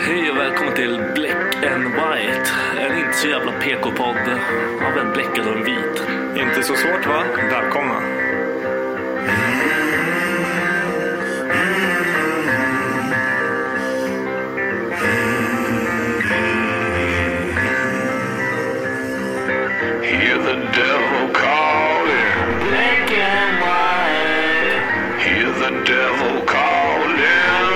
Hej och välkommen till Black and White. En inte så jävla PK-podd av en bläckad och en vit. Inte så svårt va? Välkomna. Hear the devil calling. Black and white. Hear the devil calling.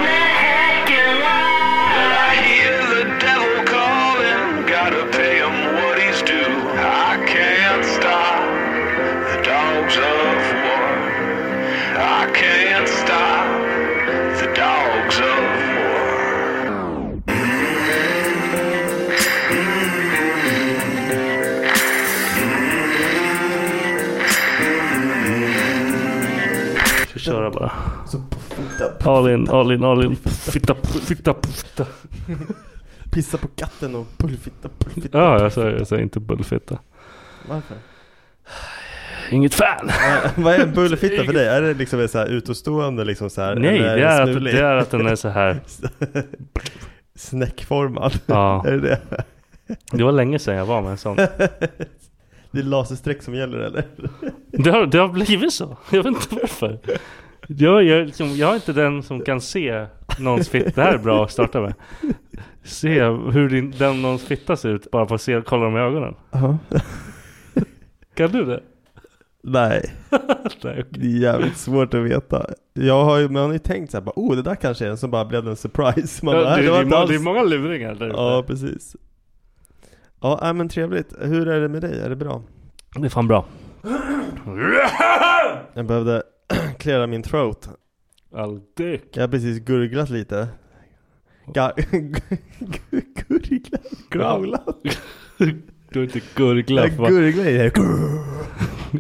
Black and white. I hear the devil calling. Gotta pay him what he's due. I can't stop the dogs of war. I can't stop the dogs of war. Ska köra bara. All in, all in, all in. Fitta, fitta, fitta. Pissa på katten och bullfitta, bullfitta. Ja, jag säger, jag säger inte bullfitta. Varför? Inget fan. Vad är en bullfitta för dig? Är det liksom en så här utåtstående liksom så här? Nej, eh, eller det är, att, snulig? det är att den är så här. Snäckformad. Ja. Är det det? Det var länge sedan jag var med en sån. Det är laserstreck som gäller eller? Det har, det har blivit så. Jag vet inte varför. Jag, jag, liksom, jag är inte den som kan se någons fitta. Det här är bra att starta med. Se hur din, den någons fitta ser ut bara för att se, kolla dem i ögonen. Kan du det? Nej, Nej, det är jävligt svårt att veta. Jag har ju, man har ju tänkt så här, bara, oh det där kanske är den som bara blev en surprise. Man Ja, bara, det, "Nej, det, var är inte må- alls." det är många luringar där ute. Ja, precis. Ja, nej, men trevligt. Hur är det med dig? Är det bra? Det är fan bra. Jag behövde klära min throat. All dick. Jag har precis gurglat lite. Gar- gurglat? Growlat? Du har inte gurglat. Jag gurglar i det här.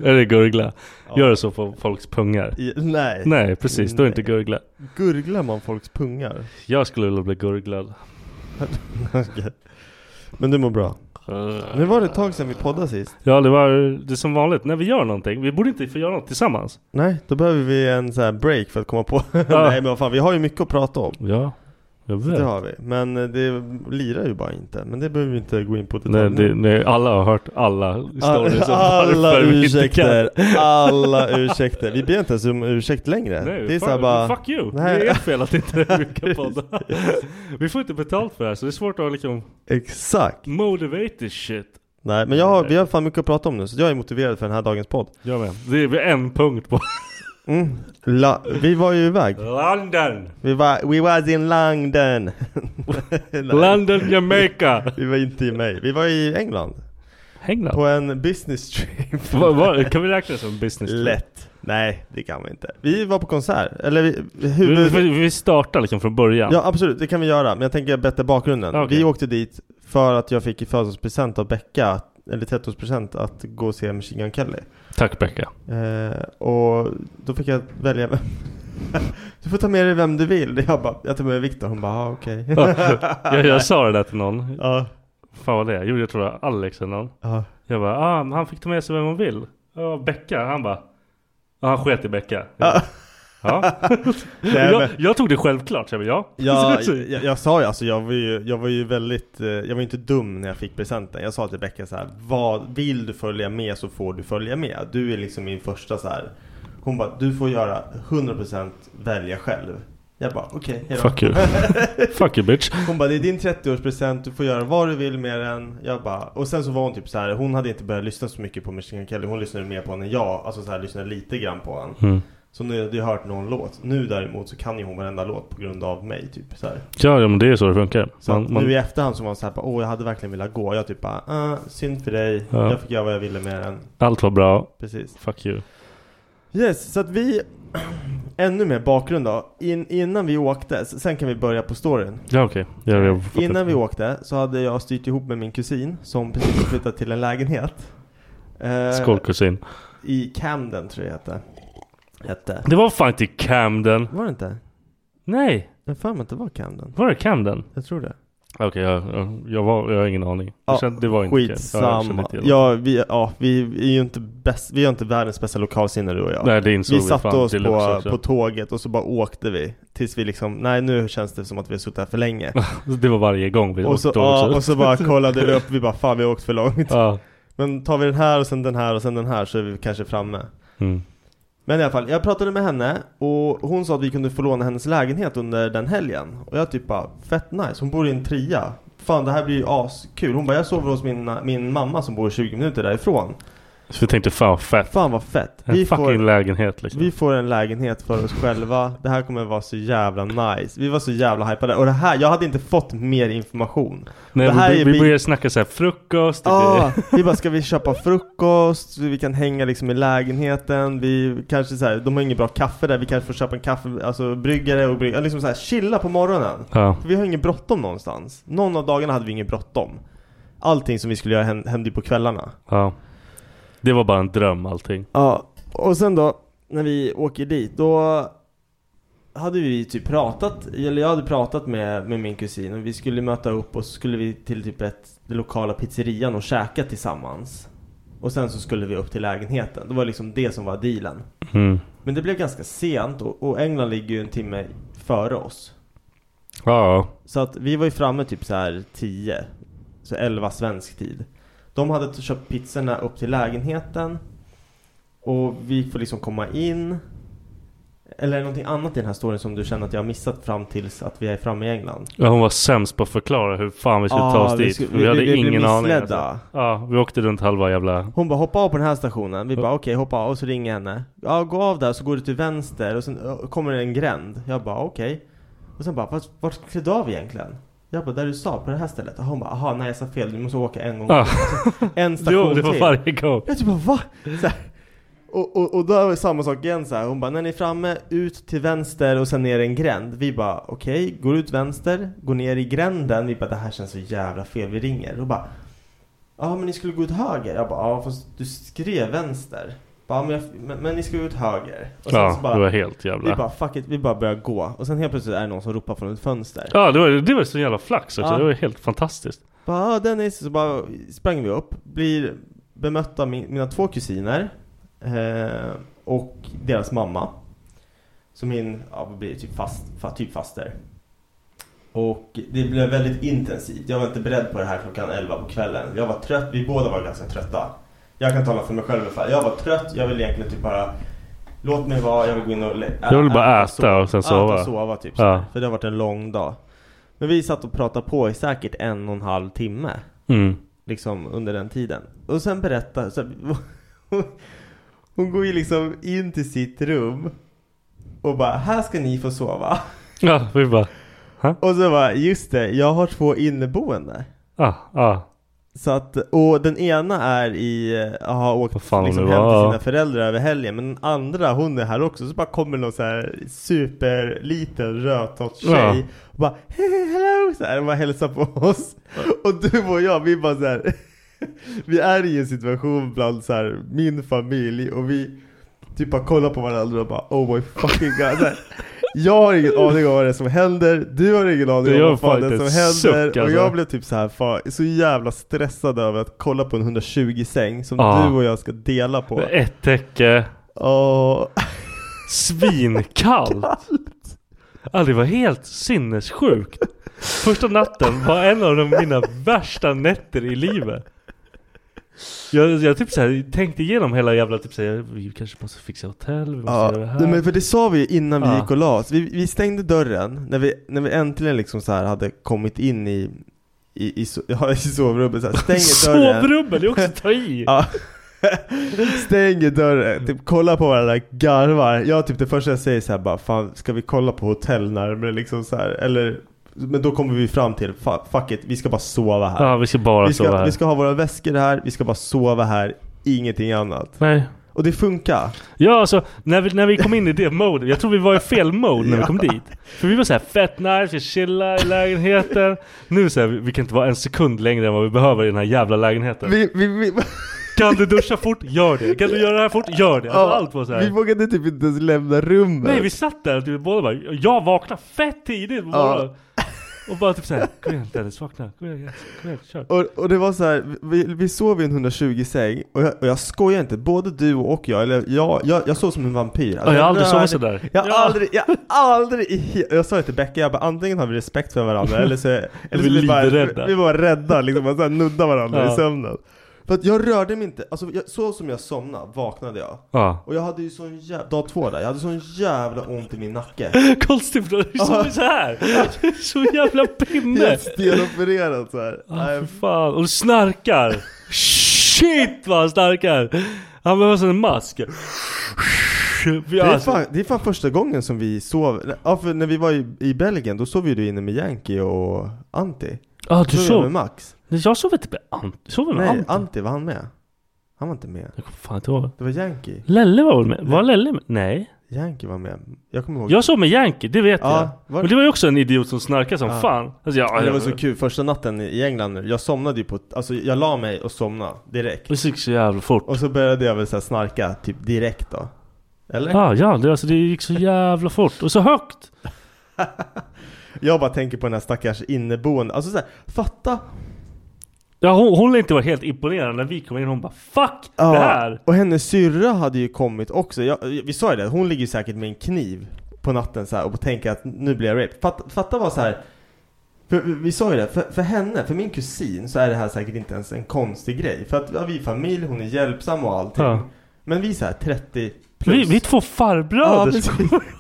Är det gurgla? Gör det så på folks pungar? I- nej. Nej, precis. Då är det inte Nej. gurgla. Gurglar man folks pungar? Jag skulle vilja bli gurglad. Okej. Men du mår bra? Nu var det ett tag sedan vi poddade sist. Äh. Ja, det var det är som vanligt. När vi gör någonting, vi borde inte få göra något tillsammans. Nej, då behöver vi en så här break för att komma på. Nej men vad fan, vi har ju mycket att prata om. Ja, jag Så vet. det har vi. Men eh, det lirar ju bara inte. Men det behöver vi inte gå in på. i Nej, detalj nu. det, nej, alla har hört alla stories om alla varför vi inte ursäkter, kan. alla ursäkter. Vi ber inte ens om ursäkt längre. Nej, det är fuck, så här bara... fuck you! Nej. Det är ert fel att inte brukar podda. Vi får inte betalt för det här så det är svårt att liksom Exakt. motivate this shit. Nej, men jag har, vi har fan mycket att prata om nu. Så jag är motiverad för den här dagens podd. Jag med. Det är en punkt på Mm. La, vi var ju iväg. London! Vi var, we was in London. Nej. London, Jamaica! Vi var inte i mig. Vi var i England. England? På en business trip. Va, va, kan vi räkna det som business trip? Lätt. Nej, det kan vi inte. Vi var på konsert. Eller vi, Vi, huvud... vi, vi startar liksom från början. Ja absolut, det kan vi göra. Men jag tänker bättre bakgrunden. Okej. Vi åkte dit för att jag fick i födelsedagspresent av Becka, eller 30-årspresent, att gå och se Machine Gun Kelly. Tack Becka. Eh, och då fick jag välja vem. du får ta med dig vem du vill. Jag bara, jag tar med mig Viktor. Hon bara, ah, okej. jag, jag sa det där till någon. ja, Fan vad det är. Jo, jag tror det var Alex eller någon. ja. Jag bara, ah, men han fick ta med sig vem han vill. Ja, Becka. Han bara, ja han sket i Becka. Jag bara, Ja. Nej, jag, men- jag tog det självklart, så jag bara, ja. Ja, jag, jag sa ju alltså, jag var ju, jag var ju väldigt, eh, jag var inte dum när jag fick presenten. Jag sa till Becka så här, vad, vill du följa med så får du följa med. Du är liksom min första så här. Hon bara, du får göra 100% välja själv. Jag bara, okej, hejdå. Fuck you. Fuck you bitch. Hon bara, det är din 30-årspresent, du får göra vad du vill med den. Jag bara, och sen så var hon typ så här, hon hade inte börjat lyssna så mycket på Machine Gun Kelly. Hon lyssnade mer på henne än jag, alltså så här, lyssnade lite grann på henne. Mm. Så nu hade jag hört någon låt. Nu däremot så kan ju hon varenda låt på grund av mig typ så här. Ja, ja, men det är så det funkar. Så att nu i efterhand så var han såhär åh jag hade verkligen velat gå. Jag typ bara, ah, synd för dig. Ja. Jag fick göra vad jag ville med den. allt var bra. Precis. Fuck you. Yes, så att vi, ännu mer bakgrund då. In, innan vi åkte, sen kan vi börja på storyn. Ja, okej. Ja, jag- Innan vi åkte så hade jag styrt ihop med min kusin som precis har flyttat till en lägenhet. Eh, Skål kusin. I Camden tror jag hette. hette. Det var fan inte Camden. Var det inte? Nej, Jag har för mig att det var Camden. var det Camden? Jag tror det. Okej, jag, jag, jag, var, jag har ingen aning. Ja, Jag kände, det var inte Camden. Ja, jag kände Skitsamma. inte Ja, till det. vi, ja, vi är ju inte bäst, vi har inte världens bästa lokalsinne du och jag. Nej, det insåg Vi vi satte fan oss deluxe på, också. på tåget och så bara åkte vi Tills vi liksom, nej nu känns det som att vi har suttit här för länge Det var varje gång vi och, så, åkte ja, också. och så bara kollade vi upp, vi bara fan vi har åkt för långt Ja. Men tar vi den här och sen den här och sen den här så är vi kanske framme Mm. Men i alla fall, jag pratade med henne och hon sa att vi kunde få låna hennes lägenhet under den helgen Och jag typ bara, fett nice, hon bor i en trea Fan det här blir ju askul, hon bara jag sover hos min, min mamma som bor 20 minuter därifrån Så vi tänkte fan vad fett. Fan vad fett! En Vi fucking får- lägenhet liksom. Vi får en lägenhet för oss själva. Det här kommer vara så jävla nice. Vi var så jävla hypade. Och det här, jag hade inte fått mer information. Nej, det här vi, är vi bi- började snacka så här frukost. det Ah, blir- vi bara, ska vi köpa frukost? Vi kan hänga liksom i lägenheten. Vi kanske så här, de har ingen bra kaffe där. Vi kanske får köpa en kaffe, alltså bryggare och bryggare. Liksom så här, chilla på morgonen. Ja. För vi har ingen bråttom någonstans. Någon av dagarna hade vi ingen bråttom. Allting som vi skulle göra hände hände ju på kvällarna. ja. Det var bara en dröm allting. Ja, och sen då när vi åker dit då hade vi typ pratat, eller jag hade pratat med, med min kusin och vi skulle möta upp och så skulle vi till typ ett, den lokala pizzerian och käka tillsammans. Och sen så skulle vi upp till lägenheten. Det var liksom det som var dealen. Mm. Men det blev ganska sent och, och England ligger ju en timme före oss. Ja. Så att vi var ju framme typ så här 10, så 11 svensk tid. De hade t- köpt pizzorna upp till lägenheten och vi får liksom komma in. Eller är det någonting annat i den här storyn som du känner att jag har missat fram tills att vi är framme i England? Ja, hon var sämst på att förklara hur fan vi skulle ta oss vi dit. skulle- vi, hade vi blev ingen aning. missledda. Alltså. Ja, vi åkte runt halva jävla... Hon bara hoppa av på den här stationen. Vi bara okej hoppa av och så ringer jag henne. Ja gå av där så går du till vänster och sen ö, kommer det en gränd. Jag bara okej. Och sen bara vart, vart klev du av egentligen? Jag bara där du sa på det här stället. Och hon bara aha nej jag sa fel du måste åka en gång Ja. En station Jo, det var till. varje gång. Jag typ bara va? Så här. Och, och, och då är det samma sak igen så här. Hon bara när ni är framme ut till vänster och sen ner en gränd. Vi bara okej, går ut vänster, går ner i gränden. Vi bara det här känns så jävla fel, vi ringer. Och bara Ja men ni skulle gå ut höger. Jag bara, ja fast du skrev vänster. Bara, "Ja, men, jag, men, men ni ska gå ut höger. Ja, så det var helt jävla- Vi bara, fuck it, vi bara börjar gå. Och sen helt plötsligt är det någon som ropar från ett fönster. Ja, det var, det var så jävla flax också. Ja. Det var ju helt fantastiskt. Bara, ah, Dennis, så bara sprang vi upp, blir bemötta av min, mina två kusiner eh, och deras mamma. Så min, ja vad blir det, typ, fast, fa, typ faster. Och det blev väldigt intensivt. Jag var inte beredd på det här klockan 11 på kvällen. Jag var trött, vi båda var ganska trötta. Jag kan tala för mig själv i alla fall. Jag var trött, jag ville egentligen typ bara Låt mig vara, jag vill gå in och lä- Jag vill bara äta sova. och sen Äta sova. och sova typ. Ja. sådär. För det har varit en lång dag. Men vi satt och pratade på i säkert en och en halv timme. Mm. Liksom under den tiden. Och sen berättar, så hon, hon går ju liksom in till sitt rum. Och bara, här ska ni få sova. Ja, vi bara... Och så bara, just det, jag har två inneboende. Ja, ja. Så att, och den ena är i, har åkt fan liksom det hem till var. sina föräldrar över helgen Men den andra, hon är här också Så bara kommer någon så här superliten rödtott tjej Ja. Och bara hey, hello! Så här, och bara hälsar på oss Och du och jag, vi bara så här Vi är i en situation bland så här, min familj Och vi typ bara kollar på varandra och bara Oh my fucking god så här, Jag har ingen aning om vad det är som händer Du har ingen aning Det om gör vad fan fan det är inte som en suck, händer Och alltså. jag blev blev typ så här fa- så jävla stressad över att kolla på en 120 säng som Ja. du och jag ska dela på. Med ett täcke. Oh. Svinkallt. Ja, det var helt sinnessjukt. Första natten var en av de mina värsta nätter i livet. Jag, jag typ så här, tänkte igenom hela jävla typ så här, vi kanske måste fixa hotell, vi måste Ja, göra det här. nej, men för det sa vi ju innan vi Ja. gick och la oss. Vi, vi stängde dörren när vi, när vi äntligen liksom så här hade kommit in i, i, i, so- ja, i sovrummet. Så här, stänger dörren. Sovrummen, det är också att ta i. Ja. Stänger dörren, typ kollar på varandra, garvar. Jag typ det första jag säger så här bara, fan ska vi kolla på hotell närmare liksom så här, eller men då kommer vi fram till, "Fa- fuck it, vi ska bara sova här. Ja, vi ska bara vi ska, sova här. Vi ska ha våra väskor här, vi ska bara sova här, ingenting annat. Nej. Och det funkar. Ja, alltså när vi, när vi kom in i det mode, jag tror vi var i fel mode när vi kom dit. För vi var såhär fett nice, vi chillar i lägenheten. Nu såhär, vi, vi kan inte vara en sekund längre än vad vi behöver i den här jävla lägenheten. Vi, vi, vi, Kan du duscha fort? Gör det. Kan du göra det här fort? Gör det. Alltså, allt var så här. Vi vågade typ inte ens lämna rummet. Nej vi satt där och typ båda bara, jag vaknade fett tidigt på Ja. morgonen. Och bara typ såhär, kom igen Dennis vakna, kom igen, kom igen, kör. Och, och det var så här, vi, vi sov i en 120 säng och jag, och jag skojar inte, både du och jag, eller jag, jag, jag sov som en vampyr Ja, jag har aldrig rörde- sovit sådär. Jag har aldrig, jag har aldrig, i he- jag sa det till Becka, jag bara antingen har vi respekt för varandra eller så, eller så Vi är vi, bara, livrädda. vi var rädda liksom, och så här nuddar varandra i Ja. sömnen För att jag rörde mig inte, alltså jag, så som jag somnade vaknade jag Ja. Och jag hade ju sån jävla, dag två där, jag hade sån jävla ont i min nacke Konstigt bra, du sover såhär. Du är Så jävla pinne. Helt stenopererad såhär Ah, för fan. Och du snarkar. Shit vad han snarkar. Han behöver sån en mask. Det Vi är, alltså, fan, det är fan första gången som vi sov, ja för när vi var i, i Belgien då sov ju du inne med Yankee och Antti Ja, Då du sov jag sov- med Max Nej, jag sov inte med Ant. Sov jag med Nej, Ant? Antti var han med? Han var inte med Jag kommer fan inte ihåg. Det var Yankee Lelle var väl med? Var Lelle med? Nej. Yankee var med, jag kommer ihåg Jag sov med Yankee, det vet Ja, jag. var- Men det var ju också en idiot som snarkade som Ja. fan. Alltså, jag, Men Det var så kul, första natten i England nu, jag somnade ju på, alltså jag la mig och somnade direkt Det gick så jävla fort. Och så började jag väl så här snarka typ direkt då Eller? Ja, ja det, alltså, det gick så jävla fort. Och så högt. Jag bara tänker på den här stackars inneboende, alltså så här, fatta Ja, hon, hon lär inte vara helt imponerad när vi kom in. Hon bara 'Fuck det här!' Och hennes syrra hade ju kommit också, jag, vi sa ju det, hon ligger ju säkert med en kniv på natten så här och tänker att nu blir jag raped. Fatta, fatta vad så här. För, vi sa ju det, för, för henne, för min kusin så är det här säkert inte ens en konstig grej. För att ja, vi är familj, hon är hjälpsam och allting. Ja. Men vi är så här 30 plus. Vi, vi är två Ja, farbröder. precis.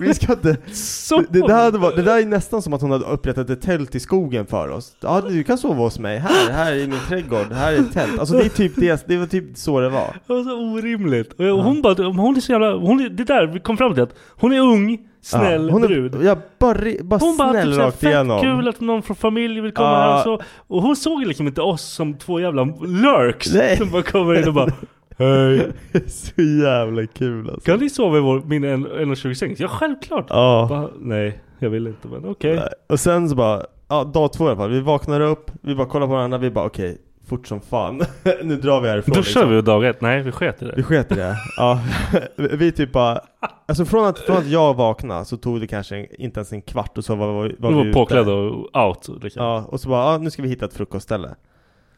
vi ska inte... Så- Det, det, där hade varit, det där är nästan som att hon hade upprättat ett tält i skogen för oss. Ja, du kan sova hos mig. Här, här i min trädgård. Här är ett tält. Alltså det är typ det, det var typ så det var. Det var så orimligt. Och jag- hon bara, hon är så jävla, hon är, det där vi kom fram till att hon är ung, snäll Ja, hon är- brud. Ja, bara, ri- bara Hon bara snäll typ såhär, rakt igenom. fett kul att någon från familjen vill komma Ja. här och så. Och hon såg ju liksom inte oss som två jävla lurks Nej. som bara kommer in och bara Hej, så jävla kul alltså. kan ni sova i vår, min 1,20 säng? Ja självklart! Ja. Bara, Nej, jag vill inte men okej. Och sen så bara, ja, dag två i alla fall. Vi vaknar upp, vi bara kollar på varandra, vi bara okej. fort som fan. nu drar vi härifrån. liksom. Duschade vi dag ett? Nej, vi sket i det. Vi sket i det. ja. Vi typ bara, alltså från att, från att jag vaknade så tog det kanske en, inte ens en kvart och så var, var, var Vi var vi påklädda och out. Liksom. Ja, och så bara, ja, nu ska vi hitta ett frukostställe.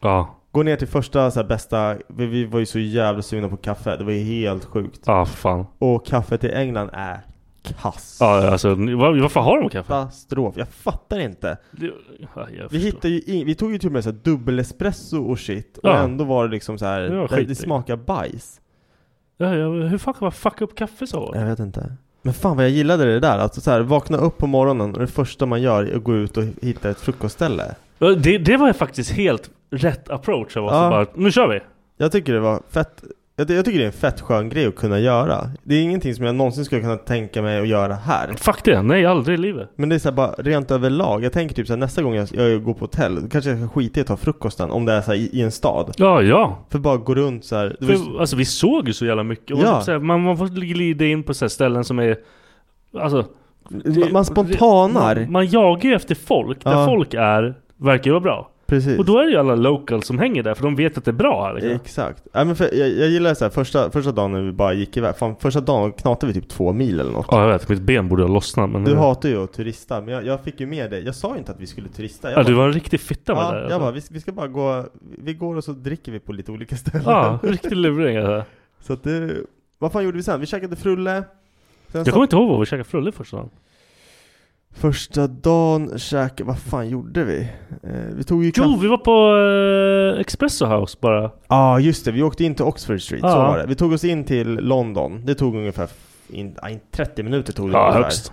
Ja. Gå ner till första så här, bästa, vi, vi var ju så jävla sugna på kaffe, det var ju helt sjukt. Ja, fan. Och kaffet i England är kass. Ja, alltså, var, varför har de kaffe? Katastrof, jag fattar inte. Ja, jag Vi hittade ju in, vi tog ju till och med så här dubbelespresso och shit, och Ja. ändå var det liksom så här, Det var det, skit det i. smakar bajs. Ja, ja, hur fan kan man fucka upp kaffe så? Jag vet inte. Men fan vad jag gillade det där, att så här, vakna upp på morgonen och det första man gör är att gå ut och hitta ett frukostställe. Ja, Det, det var ju faktiskt helt rätt approach av oss. Ja. Ja. Bara, nu kör vi! Jag tycker det var fett jag, jag tycker det är en fett skön grej att kunna göra. Det är ingenting som jag någonsin skulle kunna tänka mig att göra här. Fuck det, nej aldrig i livet. Men det är så här bara rent överlag. Jag tänker typ så här, nästa gång jag, jag går på hotell, då kanske jag ska skita i att ta frukosten om det är så här, i, i en stad. Ja, ja. För bara gå runt så här. Det var ju- För, alltså vi såg ju så jävla mycket. Och Ja. så här, man, man får glida in på så här ställen som är... Alltså... man, man spontanar. Man, man jagar ju efter folk. Där Ja. folk är, verkar ju vara bra. Precis. Och då är det ju alla locals som hänger där, för de vet att det är bra här liksom. Exakt. Ja, men för, jag, jag gillar så här, första, första dagen när vi bara gick iväg. Fan, första dagen knatade vi typ två mil eller något. Ja, jag vet. Mitt ben borde ha lossnat men... Du hatar ju att turista, men jag, jag fick ju med dig. Jag sa ju inte att vi skulle turista. Jag Ja, bara- du var en riktig fitta med ja, det där, Jag alltså. bara, vi, vi ska bara gå, vi går och så dricker vi på lite olika ställen. Ja, riktig luring alltså. Så att det, vad fan gjorde vi sen? Vi käkade frulle. Sen Jag kommer inte ihåg vad vi käkade frulle första dagen. Första dagen käkade, vad fan gjorde vi? Eh, vi tog ju Jo, vi var på eh, Espresso House bara. Ja just det, vi åkte in till Oxford Street, så Ja. var det. Vi tog oss in till London, det tog ungefär f- in, ja, in 30 minuter tog det Ja, ungefär. högst.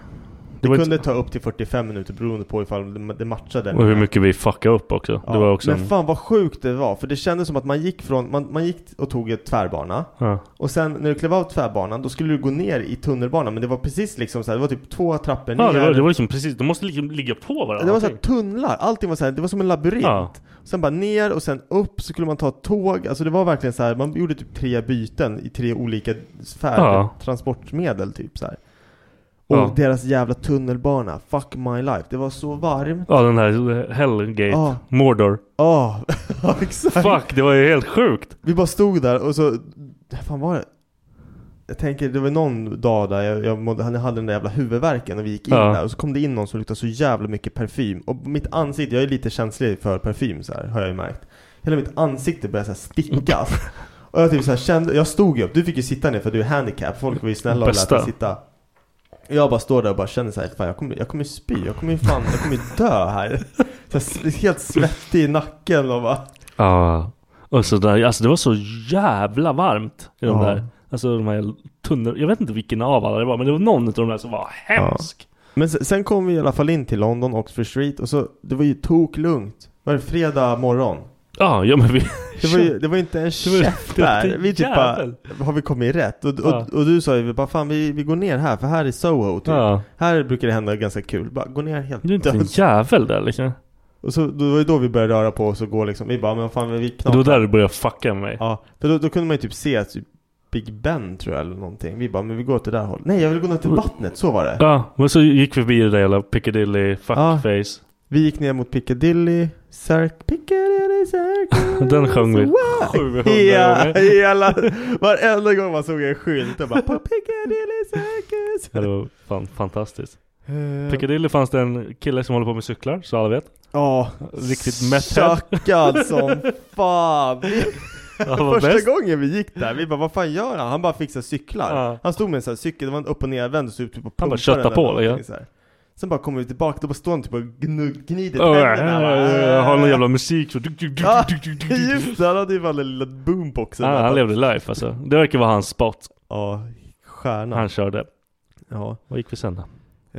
Det, Det var kunde ta upp till 45 minuter beroende på ifall det- det matchade. Och hur mycket vi fuckade upp också. Ja, Det var också... Men en- fan vad sjukt det var, för det kändes som att man gick från, man, man gick och tog ett tvärbana Ja. Och sen när du klev av tvärbanan, då skulle du gå ner i tunnelbanan Men det var precis liksom så här, det var typ två trappor Ja, ner det var, det var liksom precis, de måste liksom ligga på varandra. Det var så här tunnlar, allting var så här, det var som en labyrint Ja. Sen bara ner och sen upp så skulle man ta ett tåg, alltså det var verkligen så här, man gjorde typ tre byten i tre olika färd, Ja. transportmedel typ så här. Och Ja. deras jävla tunnelbana, fuck my life, det var så varmt Ja, den här Hellgate. Ja. Mordor. Ja, exakt Fuck, det var ju helt sjukt. Vi bara stod där och så, fan var det? Jag tänker, det var någon dag där jag, jag mådde, han hade den där jävla huvudvärken och vi gick in Ja. där och så kom det in någon som luktade så jävla mycket parfym och mitt ansikte, jag är lite känslig för parfym så här, har jag ju märkt Hela mitt ansikte började så här sticka Och jag typ så här kände, jag stod ju upp, du fick ju sitta ner för du är handicap, folk var ju snälla och lät Bästa. dig sitta jag bara står där och bara känner så här, fan jag kommer, jag kommer spy, jag kommer ju fan, jag kommer ju dö här. Så här helt svettig i nacken och bara Ja. Och så där, alltså det var så jävla varmt i de Ja. där. Alltså de här tunnor, jag vet inte vilken av alla det var, men det var någon av de där som var hemsk. Men se- sen kom vi i alla fall in till London, Oxford Street och så det var ju toklugnt. Var det fredag morgon? Ja, ja, men vi... Det var ju, det var ju inte en käft det var där. inte Vi typ jävel. bara, har vi kommit rätt? Och, och, Ja. och du sa ju bara, fan vi, vi går ner här för här är Soho typ. Ja. Här brukar det hända ganska kul. Bara gå ner helt Det är inte en död. jävel där liksom. Och så då var det då vi började röra på oss och gå liksom. Vi bara, men fan vi Det var knappt. där du började fucka med mig. Ja, för då, då kunde man ju typ se typ Big Ben tror jag eller någonting. Vi bara, men vi går åt det där hållet. Nej, jag vill gå ner till vattnet. Så var det. Ja, men så gick vi förbi det där jävla Piccadilly fuckface. Vi gick ner mot Piccadilly, Circle, Piccadilly Circle. Den sjöng vi. Wow! 700 Hela, gånger. hela, varenda gång man såg en skylt och bara på Piccadilly Circus. Ja, det var fan fantastiskt. Eh, Piccadilly fanns det en kille som håller på med cyklar, så alla vet. Ja, Riktigt mätt head. Tjackad som fan. Han var Första bäst. gången vi gick där, vi bara vad fan gör han? Han bara fixar cyklar. Ja. Han stod med en sån här cykel, det var en upp och nervänd och så typ och Han bara pumpade köttade den på, eller ja. någonting Liksom. så här. Sen bara kommer vi tillbaka, då bara står han typ och gnu- gnider Öh, tänderna. bara, Har någon jävla musik så... duk, duk, duk, Ja, duk, duk, duk, duk. just det, han hade ju fan den lilla boomboxen Ah, där. han levde life alltså. Det verkar vara hans spot. Ja, stjärna. Han körde. Ja. Vad gick vi sen då?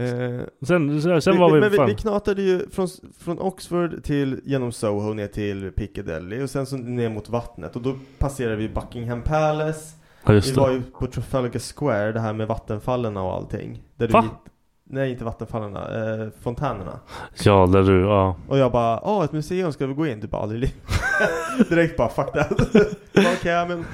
Eh, Sen, sen, sen var men vi... Fan. vi knatade ju från, från Oxford till genom Soho ner till Piccadilly och sen så ner mot vattnet och då passerade vi Buckingham Palace. Ja, just vi var det. ju på Trafalgar Square, det här med vattenfallen och allting. Där du Va? gick- Nej, inte vattenfallen, eh, fontänerna. Ja, där du... Ja. Och jag bara, åh ett museum ska vi gå in? Du bara, aldrig i livet." Direkt bara, fuck that. Okej, men.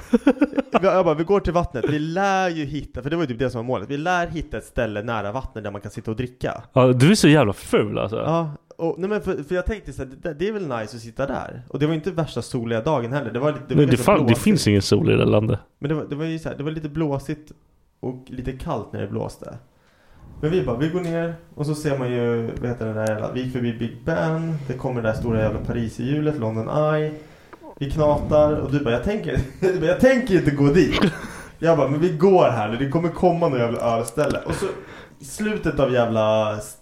Jag bara, vi går till vattnet. Vi lär ju hitta, för det var ju typ det som var målet. Vi lär hitta ett ställe nära vattnet där man kan sitta och dricka. ja. Du är så jävla ful alltså. Ja, och, nej men för, för jag tänkte så här, det, där- det är väl nice att sitta där. Och det var inte värsta soliga dagen heller. Det var lite, det var Men det, ganska fan, det blåsigt. finns ingen sol i det landet. Men det var, det var ju så här, det var lite blåsigt och lite kallt när det blåste. Men vi bara, vi går ner och så ser man ju, vad heter det där jävla, vi gick förbi Big Ben, det kommer det där stora jävla Pariserhjulet, London Eye. Vi knatar och du bara, jag tänker, du bara, jag tänker inte gå dit. Jag bara, men vi går här nu, det kommer komma något jävla ölställe. Och så i slutet av jävla s-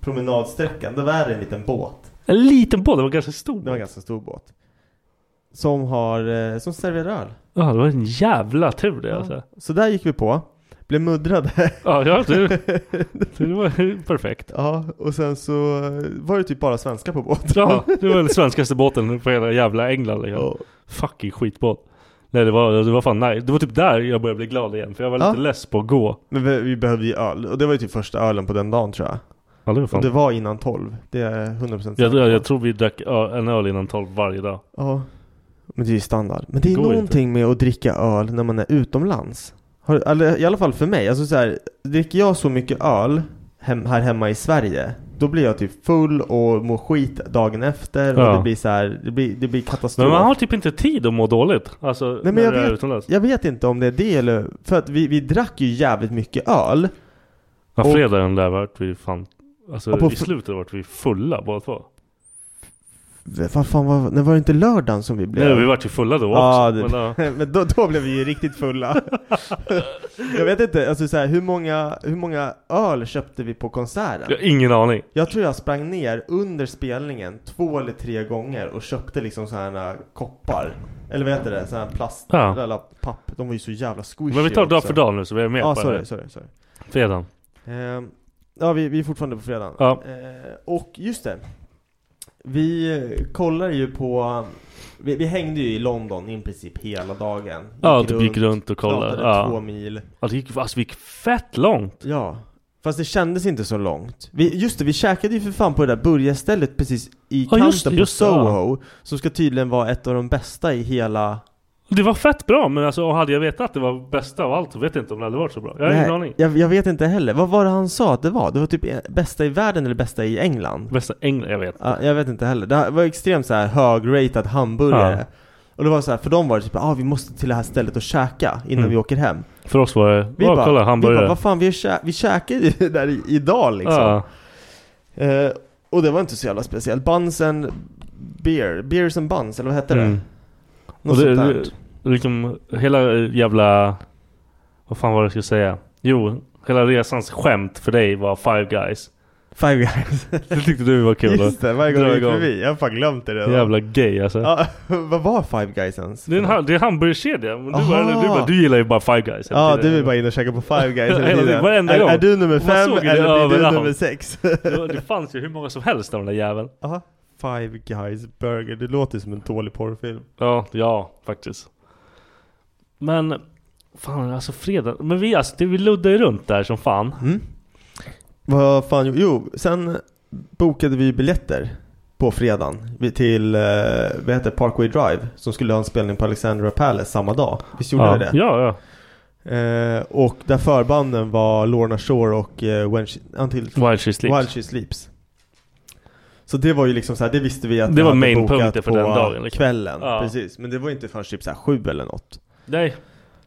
promenadsträckan, då är det en liten båt. En liten båt, det var ganska stor. Det var en ganska stor båt. Som har, eh, som serverar öl. Ja, det var en jävla tur det alltså. Så där gick vi på, blev muddrade. Ja, ja det, det var perfekt. Ja, och sen så var det typ bara svenskar på båten. Ja, det var den svenskaste båten på hela jävla England liksom. Fucking skitbåt. Nej det var, det var fan nej. Det var typ där jag började bli glad igen. För jag var Ja. lite less på att gå. Men vi, vi behövde ju öl, och det var ju typ första ölen på den dagen tror jag. Ja, det var fan. Och det var innan 12, det är 100% säkert. Jag, jag, jag tror vi drack ö- en öl innan tolv varje dag. Ja, men det är ju standard. Men det är Går någonting med att dricka öl när man är utomlands. Har, eller, I alla fall för mig, alltså så här, dricker jag så mycket öl hem, här hemma i Sverige då blir jag typ full och mår skit dagen efter och Ja. det blir så här, det blir, det blir katastrof. Men man har typ inte tid att må dåligt. Alltså Nej, men när jag du är vet, utomlands. jag vet inte om det är det eller... För att vi, vi drack ju jävligt mycket öl. Ja, Och- fredagen där vart vi fan... Alltså Ja, på i fr- slutet vart vi fulla båda två. Vad fan var... Nej, var det inte lördagen som vi blev? Nej, vi vart ju fulla då Ja, också. det, Men, ja. men, då, då blev vi ju riktigt fulla. jag vet inte, alltså så här, hur, många, hur många öl köpte vi på konserten? Jag har ingen aning. Jag tror jag sprang ner under spelningen två eller tre gånger och köpte liksom så här äh, koppar. Eller vad heter det? Sån här plast, Ja. eller papp. De var ju så jävla squishy Men vi tar dag också. för dag nu så vi är med Ja, på sorry, det. sorry, sorry. Fredagen. Ehm, ja, vi, vi är fortfarande på fredagen. Ja. Eh, och just det. Vi eh, kollar ju på... Vi, vi hängde ju i London i princip hela dagen. Ja, typ gick runt och kollade. knatade Ja. två mil. Ja, det gick, alltså, vi gick fett långt. Ja. Fast det kändes inte så långt. Vi, just det, vi käkade ju för fan på det där burgarstället precis i Ja, kanten just det, på just det, ja. Soho. Som ska tydligen vara ett av de bästa i hela... Det var fett bra, men alltså, och hade jag vetat att det var bästa av allt så vet jag inte om det hade varit så bra. Jag har Nej, ingen aning. Jag, jag vet inte heller. Vad var det han sa att det var? Det var typ eh, bästa i världen eller bästa i England? Bästa England, jag vet. Ja, jag vet inte heller. Det var extremt så här hög-rated hamburgare. Ja. Och det var så här, för dem var det typ ah, vi måste till det här stället och käka innan Mm. vi åker hem. För oss var det, Vi ja, bara, kolla vi bara, hamburgare. vad fan vi, kä- vi käkar ju där i- idag liksom. Ja. Eh, och det var inte så jävla speciellt. Buns and beer, beers and buns eller vad hette det? Mm. Något och det, sånt där. det, liksom, hela jävla... Vad fan var det jag skulle säga? Jo, hela resans skämt för dig var Five Guys. Five guys. Det tyckte du var kul. Just det, varje gång Dra vi gick igång. förbi. Jag har fan glömt det redan. Jävla gay alltså. Ja, vad var Five guys ens? Det är en, ha- det är en hamburgerkedja. Men du, bara, Aha. du, bara, du gillar ju bara Five Guys. hela Ja, tiden. du vill bara in och käka på Five guys hela Hela tiden, tiden. varenda är, gång. är du nummer Och man fem såg ju det eller blir du överallt. nummer sex? det, det fanns ju hur många som helst av den där jäveln. Aha. Five Guys Burger, det låter som en dålig porrfilm. Ja, ja faktiskt. Men fan alltså fredag. Men vi alltså, det, vi luddade ju runt där som fan. Mm. Vad fan, jo, jo, sen bokade vi biljetter på fredagen vi- till, eh, vad heter det, Parkway Drive som skulle ha en spelning på Alexandra Palace samma dag. Visst gjorde ja. vi det? Ja, ja. Eh, och där förbanden var Lorna Shore och eh, When She, until, Wild She Sleeps. While She Sleeps. Så det var ju liksom så här, det visste vi att Det vi var hade main bokat punkten för på den dagen, liksom. kvällen. Ja. Precis, men det var inte förrän typ så här sju eller något. Nej.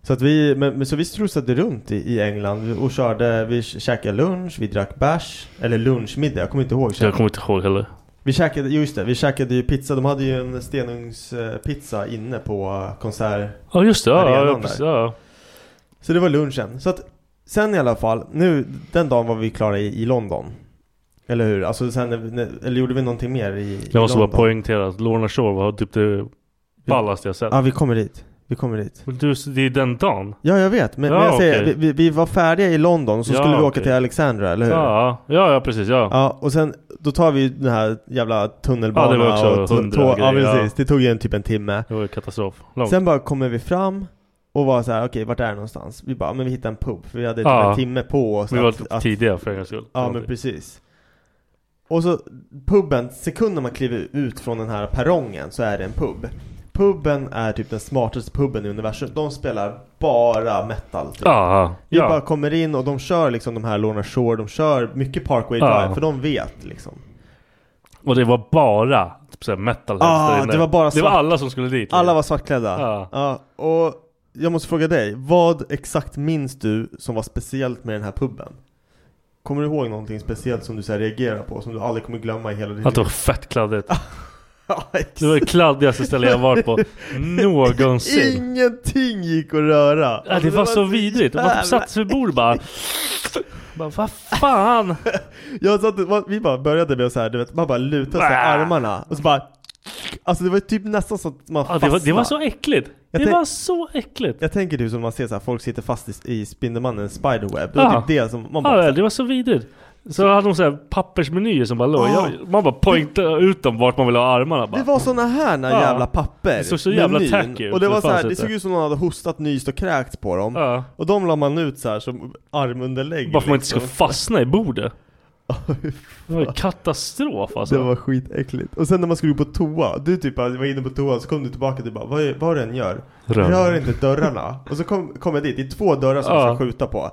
Så att vi, men, men så vi strosade runt i, i England och körde, vi k- käkade lunch, vi drack bärs, eller lunchmiddag, jag kommer inte ihåg. Jag kommer inte ihåg heller. Vi käkade, jo, just det, vi käkade ju pizza, de hade ju en stenugnspizza inne på konsert. Ja just det. Ja, Arenan ja, ja, där. precis, ja. Så det var lunchen. Så att sen i alla fall, nu, den dagen var vi klara i, i London. Eller hur? Alltså sen, när vi- när- eller gjorde vi någonting mer i, i Jag måste bara London? poängtera att Lorna Shore var typ det ballaste jag sett. Ja, vi kommer dit. Vi kommer dit. Men du, det är den dagen. Ja, jag vet. Men, Ja, men jag säger, okej. vi, vi- vi var färdiga i London och så Ja, skulle vi åka okej. till Alexandra, eller hur? Ja, ja, ja precis. Ja. Ja, och sen då tar vi ju den här jävla tunnelbanan Ja, det var också och t- hundra tå- Ja, grejer, precis. Det tog ju en typ en timme. Det var ju katastrof. Långt. Sen bara kommer vi fram och var så här, okej, vart är det någonstans? Vi bara, men vi hittar en pub. För vi hade typ Ja. en timme på oss. vi var att- typ att- tidiga för en gångs skull. Ja, men precis. Och så puben, sekunden man kliver ut från den här perrongen så är det en pub. Puben är typ den smartaste puben i universum. De spelar bara metal. Typ. Ja, Vi ja. bara kommer in och de kör liksom de här Lorna Shore, de kör mycket Parkway Ja. Drive, för de vet liksom. Och det var bara typ såhär metalheads Ah, där inne. det var bara Det var svart. alla som skulle dit. Alla var svartklädda. Ja. Ja, och jag måste fråga dig, vad exakt minns du som var speciellt med den här puben? Kommer du ihåg någonting speciellt som du så här reagerar på, som du aldrig kommer glömma i hela ditt Att det liv? var fett kladdigt. Ja, exakt. Det var det kladdigaste stället jag varit på någonsin. Ingenting gick att röra! Ja, det var så vidrigt. Man typ satt sig vid bordet och bara... bara Vad fan! Jag satt, va- vi bara började med att så här, du vet, man bara lutade sig i Bäh. armarna och så bara Alltså det var typ nästan så att man Ja, det, var, det var fastnade. så äckligt. Jag Det tänk- var så äckligt. Jag tänker typ som man ser så här, folk sitter fast i, i Spindelmannens spiderweb Det var Ja. typ det som man bara Ja, det var så vidrigt. Så hade de så här pappersmenyer som bara låg. Ja. Jag, man bara poängtade ut dem vart man ville ha armarna. Bara. Det var såna här när Ja. jävla papper Det såg så med jävla nyn. tacky ut, Och det det var så här, fanns det inte. såg ut som någon hade hostat, nyst och kräkts på dem Ja. Och de la man ut så här som armunderlägg Bara för att man inte liksom. ska fastna i bordet. Det var ju katastrof alltså. Det var skitäckligt Och sen när man skulle gå på toa, du typ bara var inne på toan så kom du tillbaka och du bara Vad, är- vad du än gör, rör, Rör. inte dörrarna Och så kom, kom jag dit, det är två dörrar som Ja. man ska skjuta på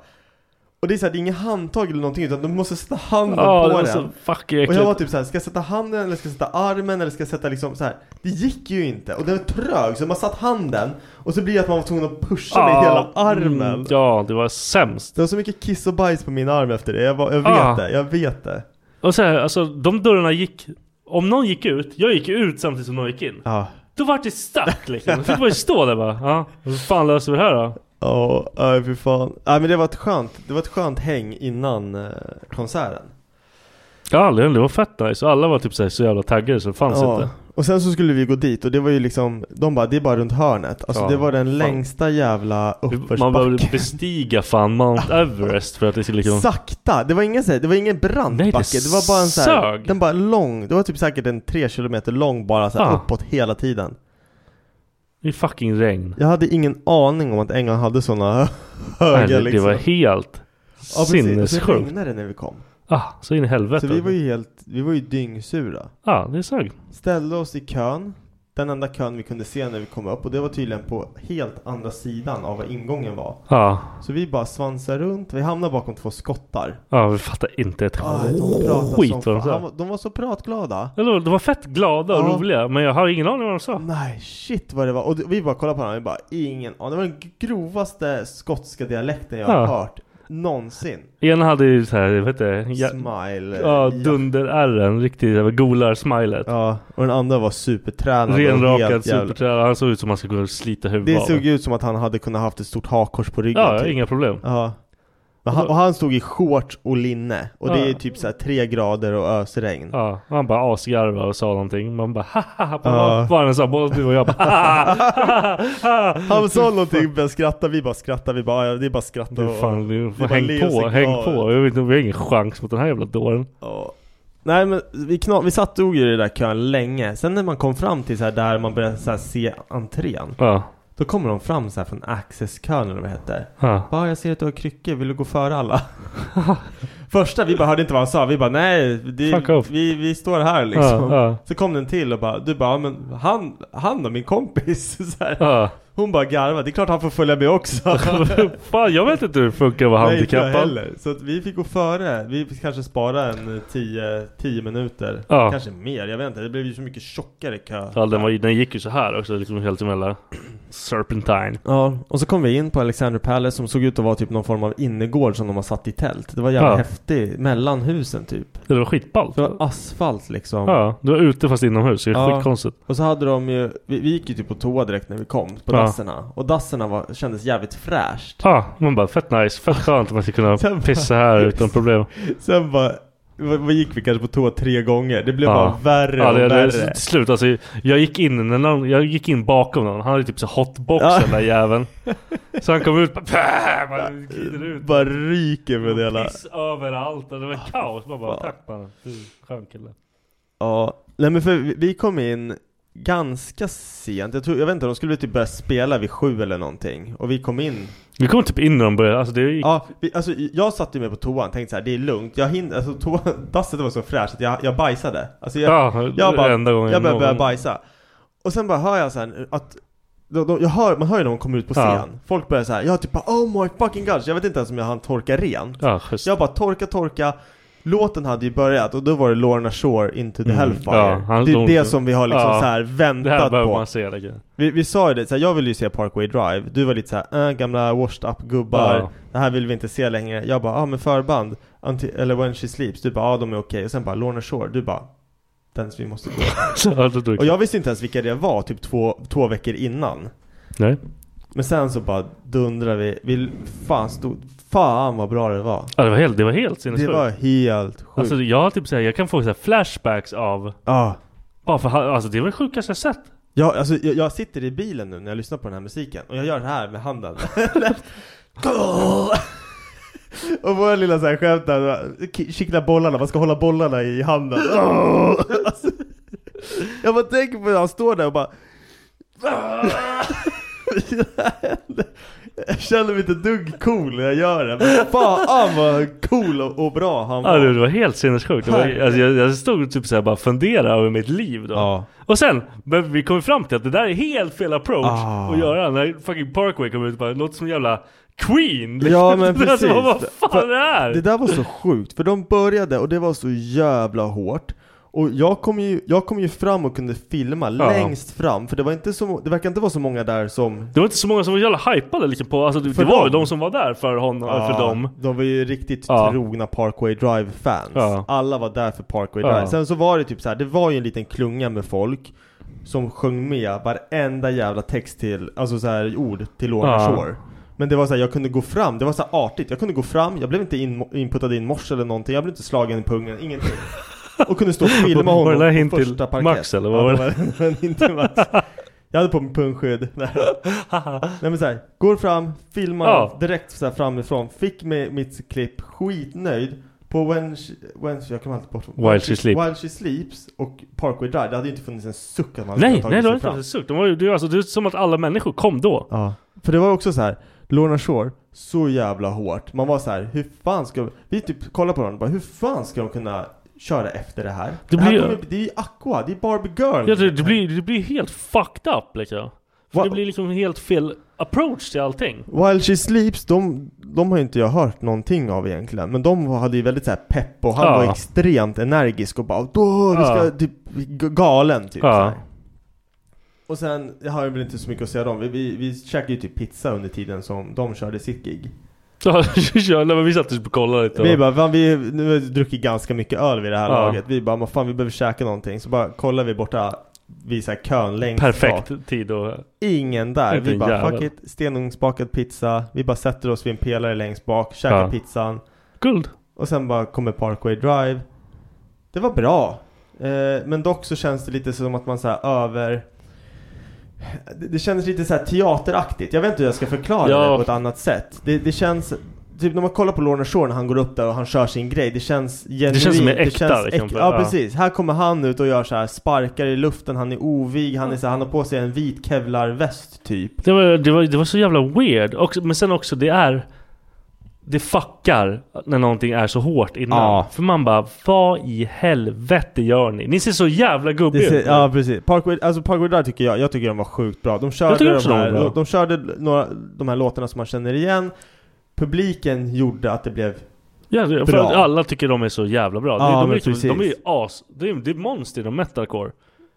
Och det är såhär, det är inget handtag eller någonting utan du måste sätta handen Ja, det på var den så fucking äckligt. Och jag var typ såhär, ska jag sätta handen eller ska jag sätta armen eller ska jag sätta liksom så här. Det gick ju inte och det var trög så man satt handen Och så blir det att man var tvungen att pusha med hela armen mm, Ja, det var sämst. Det var så mycket kiss och bajs på min arm efter det, jag, var, jag vet Ja. det, jag vet det Och så här, alltså de dörrarna gick... Om någon gick ut, jag gick ut samtidigt som någon gick in. Ja Då vart det stack liksom. Jag fick bara stå där bara. Ja, hur fan löser vi det här då? Ja, nej fy fan. Nej men det var ett skönt, det var ett skönt häng innan eh, konserten. Ja, aldrig. det var fett nice. Och alla var typ så, här, så jävla taggade så det fanns Ja. inte. Och sen så skulle vi gå dit och det var ju liksom, de bara det är bara runt hörnet. Alltså Ja, det var den fan. längsta jävla Man uppförsbacken. behövde bestiga fan Mount Everest för att det skulle kunna... Sakta! Det var ingen så här- det var ingen brant Nej, det backe. Det var bara en så här, sög. den bara lång. Det var typ säkert en tre kilometer lång bara så här Ja. uppåt hela tiden. Det är fucking regn. Jag hade ingen aning om att England hade sådana Nej, höga det, det liksom. var helt ja, precis. Och så sinnessjukt. regnade det när vi kom. Ah, så in i helvete. Så vi var ju helt, vi var ju dyngsura. Ja, det är sagt. ställde oss i kön. Den enda kön vi kunde se när vi kom upp och det var tydligen på helt andra sidan av vad ingången var. Ja, Så vi bara svansar runt, vi hamnar bakom två skottar. ja vi fattar inte ett Ah, de pratade som skit vad de fan. Han sa. var- De var så pratglada. Eller de var fett glada och Ja. roliga, men jag har ingen aning vad de sa. Nej, shit vad det var. Och det- vi bara kollade på honom vi bara ingen aning. Det var den grovaste skotska dialekten jag har Ja. hört någonsin. Ena hade ju såhär, vad heter det? Ja, Smile. ja ja. dunder-ärren. Riktigt jävla golar-smilet. Ja, och den andra var supertränad. och Renrakad helt jävla- supertränare. Han såg ut som han skulle kunna slita huvudet Det av såg en. ut som att han hade kunnat haft ett stort hakkors på ryggen. Ja, typ. ja, inga problem. Ja. Men han, och han stod i shorts och linne och det Ja. är typ så här tre grader och ösregn. Ja, och han bara asgarvade och sa någonting. Man bara haha, på Ja. vad han sa, både du och jag bara haha. Han sa någonting, men skratta, vi bara skrattar, vi bara, ja, det är bara skratta Du och- fan, du, bara häng le och på, se häng glad på. ut. Jag vet inte, vi har ingen chans mot den här jävla dåren. Ja. Nej men vi, kna- vi satt och i den där kön länge, sen när man kom fram till så här där man började så här se entrén Ja, Då kommer de fram så här från accesskön eller vad det hette ja. Bara jag ser att du har kryckor, vill du gå före alla? Första vi bara hörde inte vad han sa, vi bara nej, Fuck det, off. vi, vi står här liksom Ja, ja. Så kom den till och bara, du bara, men han, han då min kompis? Så här. ja. Hon bara garvade, det är klart han får följa med också Fan, jag vet inte hur det funkar att vara Nej, inte jag handikappad. heller. Så att vi fick gå före, vi fick kanske spara en 10 10 eh, minuter Ja. Kanske mer, jag vet inte, det blev ju så mycket tjockare kö Ja, den, var, ju- den gick ju så här också, liksom helt emellan. Serpentine. Ja, och så kom vi in på Alexander Palace som såg ut att vara typ någon form av innergård som de har satt i tält Det var jävligt Ja. häftigt, mellan husen typ Det var skitballt. Det var asfalt liksom Ja, du var ute fast inomhus. Det är Ja. skitkonstigt. Och så hade de ju, vi, vi gick ju typ på toa direkt när vi kom på Ja. dasserna Och dasserna var, kändes jävligt fräscht Ja, man bara fett nice, fett skönt att man ska kunna pissa här utan problem. Sen bara, vad, vad gick vi kanske på toa tre gånger? Det blev Ja. bara värre Ja, och det, det, värre. till slut alltså, jag gick in när någon, jag gick in bakom någon. Han hade typ så hotbox Ja. den där jäveln. Så han kom ut bara, pah, man glider ut. bara ryker med det hela. Ah, Piss överallt och det var kaos. Man bara, tack mannen. Du är skön kille. Ja, nej men för vi- vi kom in ganska sent. Jag, tror, jag vet inte, de skulle typ börja spela vid sju eller någonting. Och vi kom in. Vi kom typ in när de började, alltså det gick, Ja, vi, alltså jag satt ju med på toan, tänkte så här, det är lugnt. Jag hinner, alltså toan, dasset var så fräscht att jag, jag bajsade. Alltså jag, ja, jag bara, enda gången jag började någon- börja bajsa. Och sen bara hör jag sen att de, de, jag hör, man hör ju när de kommer ut på scen. Ja. Folk börjar så här, jag typ bara, oh my fucking god. Så Jag vet inte ens om jag hann torka rent. Ja, schysst. Så jag bara torka, torka Låten hade ju börjat och då var det Lorna Shore, Into the Mm, Hellfire. ja, han det är dog det då. som vi har liksom Ja, så här det här väntat behöver på. man se, det grejen. vi, vi sa ju det, så här, jag ville ju se Parkway Drive. Du var lite så här, äh, gamla washed up gubbar. Ja. Det här vill vi inte se längre. Jag bara, ja ah, men förband. Anti- eller When She Sleeps. Du bara, ja ah, de är okej. Och sen bara Lorna Shore. Du bara, den vi måste gå. Ja, då dog och jag visste inte ens vilka det var, typ två, två veckor innan. Nej. Men sen så bara dundrar vi, vi fan, stod, fan vad bra det var. Ja, det var helt, det var helt Det sinnessjukt. var helt sjukt. Alltså jag har typ såhär, jag kan få såhär flashbacks av... Ja. Bara för, han- alltså det var det sjukaste jag sett. Ja, alltså jag, jag sitter i bilen nu när jag lyssnar på den här musiken och jag gör det här med handen. och våra lilla så här skämt där, ki- kittla bollarna, man ska hålla bollarna i handen. alltså, jag bara tänker på när han står där och bara Jag känner mig inte ett dugg cool när jag gör det, men fan vad cool och, och bra han Ja, var. det, det var helt sinnessjukt. Det var, alltså, jag, jag stod typ såhär bara fundera över mitt liv då. Och sen, men vi kom fram till att det där är helt fel approach Ah. att göra när fucking Parkway kom ut och bara låter som jävla Queen. Ja men Alltså, precis! vad fan För är det här? Det där var så sjukt, för de började och det var så jävla hårt Och jag kom ju, jag kom ju fram och kunde filma Ja. längst fram, för det var inte så, det verkar inte vara så många där som Det var inte så många som var jävla hypade liksom på, alltså det, För det var ju dem. de som var där för honom, Ja, för dem. Ah, De var ju riktigt Ja. trogna Parkway Drive-fans. Ja. Alla var där för Parkway Ja. Drive. Sen så var det typ så här, det var ju en liten klunga med folk som sjöng med varenda jävla text till, alltså så här ord till Lorna Ja. Shore. Men det var så här, jag kunde gå fram, det var så här artigt. Jag kunde gå fram, jag blev inte in, inputtad i en morse eller någonting, jag blev inte slagen i pungen, ingenting. Och kunde stå och filma Var honom det där hint på till första parkett. Max, eller vad Ja, var det? var en hint till Max. Jag hade på mig pungskydd. Nej Nej, men så här, går fram, filmar Ja. direkt så här framifrån, fick med mitt klipp, skitnöjd. På When She, when she jag kommer alltid bort While She Sleeps. While She Sleeps och Parkway Drive, det hade ju inte funnits en suck att man hade Nej, tagit nej det sig var inte fram. ens suck. De var ju, det, var- alltså, det är som att alla människor kom då. Ja. För det var också så här, Lorna Shore, så jävla hårt. Man var så här, hur fan ska vi typ kolla på dem och bara, hur fan ska de kunna köra efter det här? Det, Det här blir- kommer, det är ju Aqua, det är Barbie Girl. Ja, det, det, blir, det blir helt fucked up liksom. För Vad- det blir liksom helt fel approach till allting. While She Sleeps, de, de har ju inte jag hört någonting av egentligen Men de hade ju väldigt så här pepp och han Ja. var extremt energisk och bara då, vi ska Ja. typ, g- galen typ Ja. så här. Och sen, jag har väl inte så mycket att säga om dem vi, vi, vi käkade ju typ pizza under tiden som de körde sitt gig Ja, ja, nej, men vi satt och kollade lite. Vi bara, fan, vi nu har vi druckit ganska mycket öl vid det här Ja. laget Vi bara, "Men fan vi behöver käka någonting Så bara kollar vi borta vid så här kön längst bak. Perfekt tid och... Ingen där. Inte vi en bara jävel. fuck it, stenugnsbakad pizza. Vi bara sätter oss vid en pelare längst bak, käkar Ja. pizzan. Guld. Och sen bara kommer Parkway Drive. Det var bra. Eh, men dock så känns det lite som att man så här över... Det, det kändes lite så här teateraktigt. Jag vet inte hur jag ska förklara Ja. det på ett annat sätt. Det, det känns... Typ när man kollar på Lorna Shore när han går upp där och han kör sin grej. Det känns genuint. känns mer äkta, liksom. äk- ja, Ja. precis. Här kommer han ut och gör så här sparkar i luften. Han är ovig. Han, är så här, han har på sig en vit kevlarväst typ. Det var, det, var, det var så jävla weird. Och, men sen också, det är... Det fuckar när någonting är så hårt innan. Ja. För man bara, vad i helvete gör ni? Ni ser så jävla Det gubbiga ser, ut. ja precis. Parkway, alltså Parkway Drive tycker jag, jag tycker de var sjukt bra. De körde, tycker också de, de här, var bra. de, de körde några, de här låtarna som man känner igen. Publiken gjorde att det blev Ja, det- för Bra. att alla tycker de är så jävla bra. Ja, de, de, men är liksom, de är ju precis. as... Det är, det är monster inom metalcore.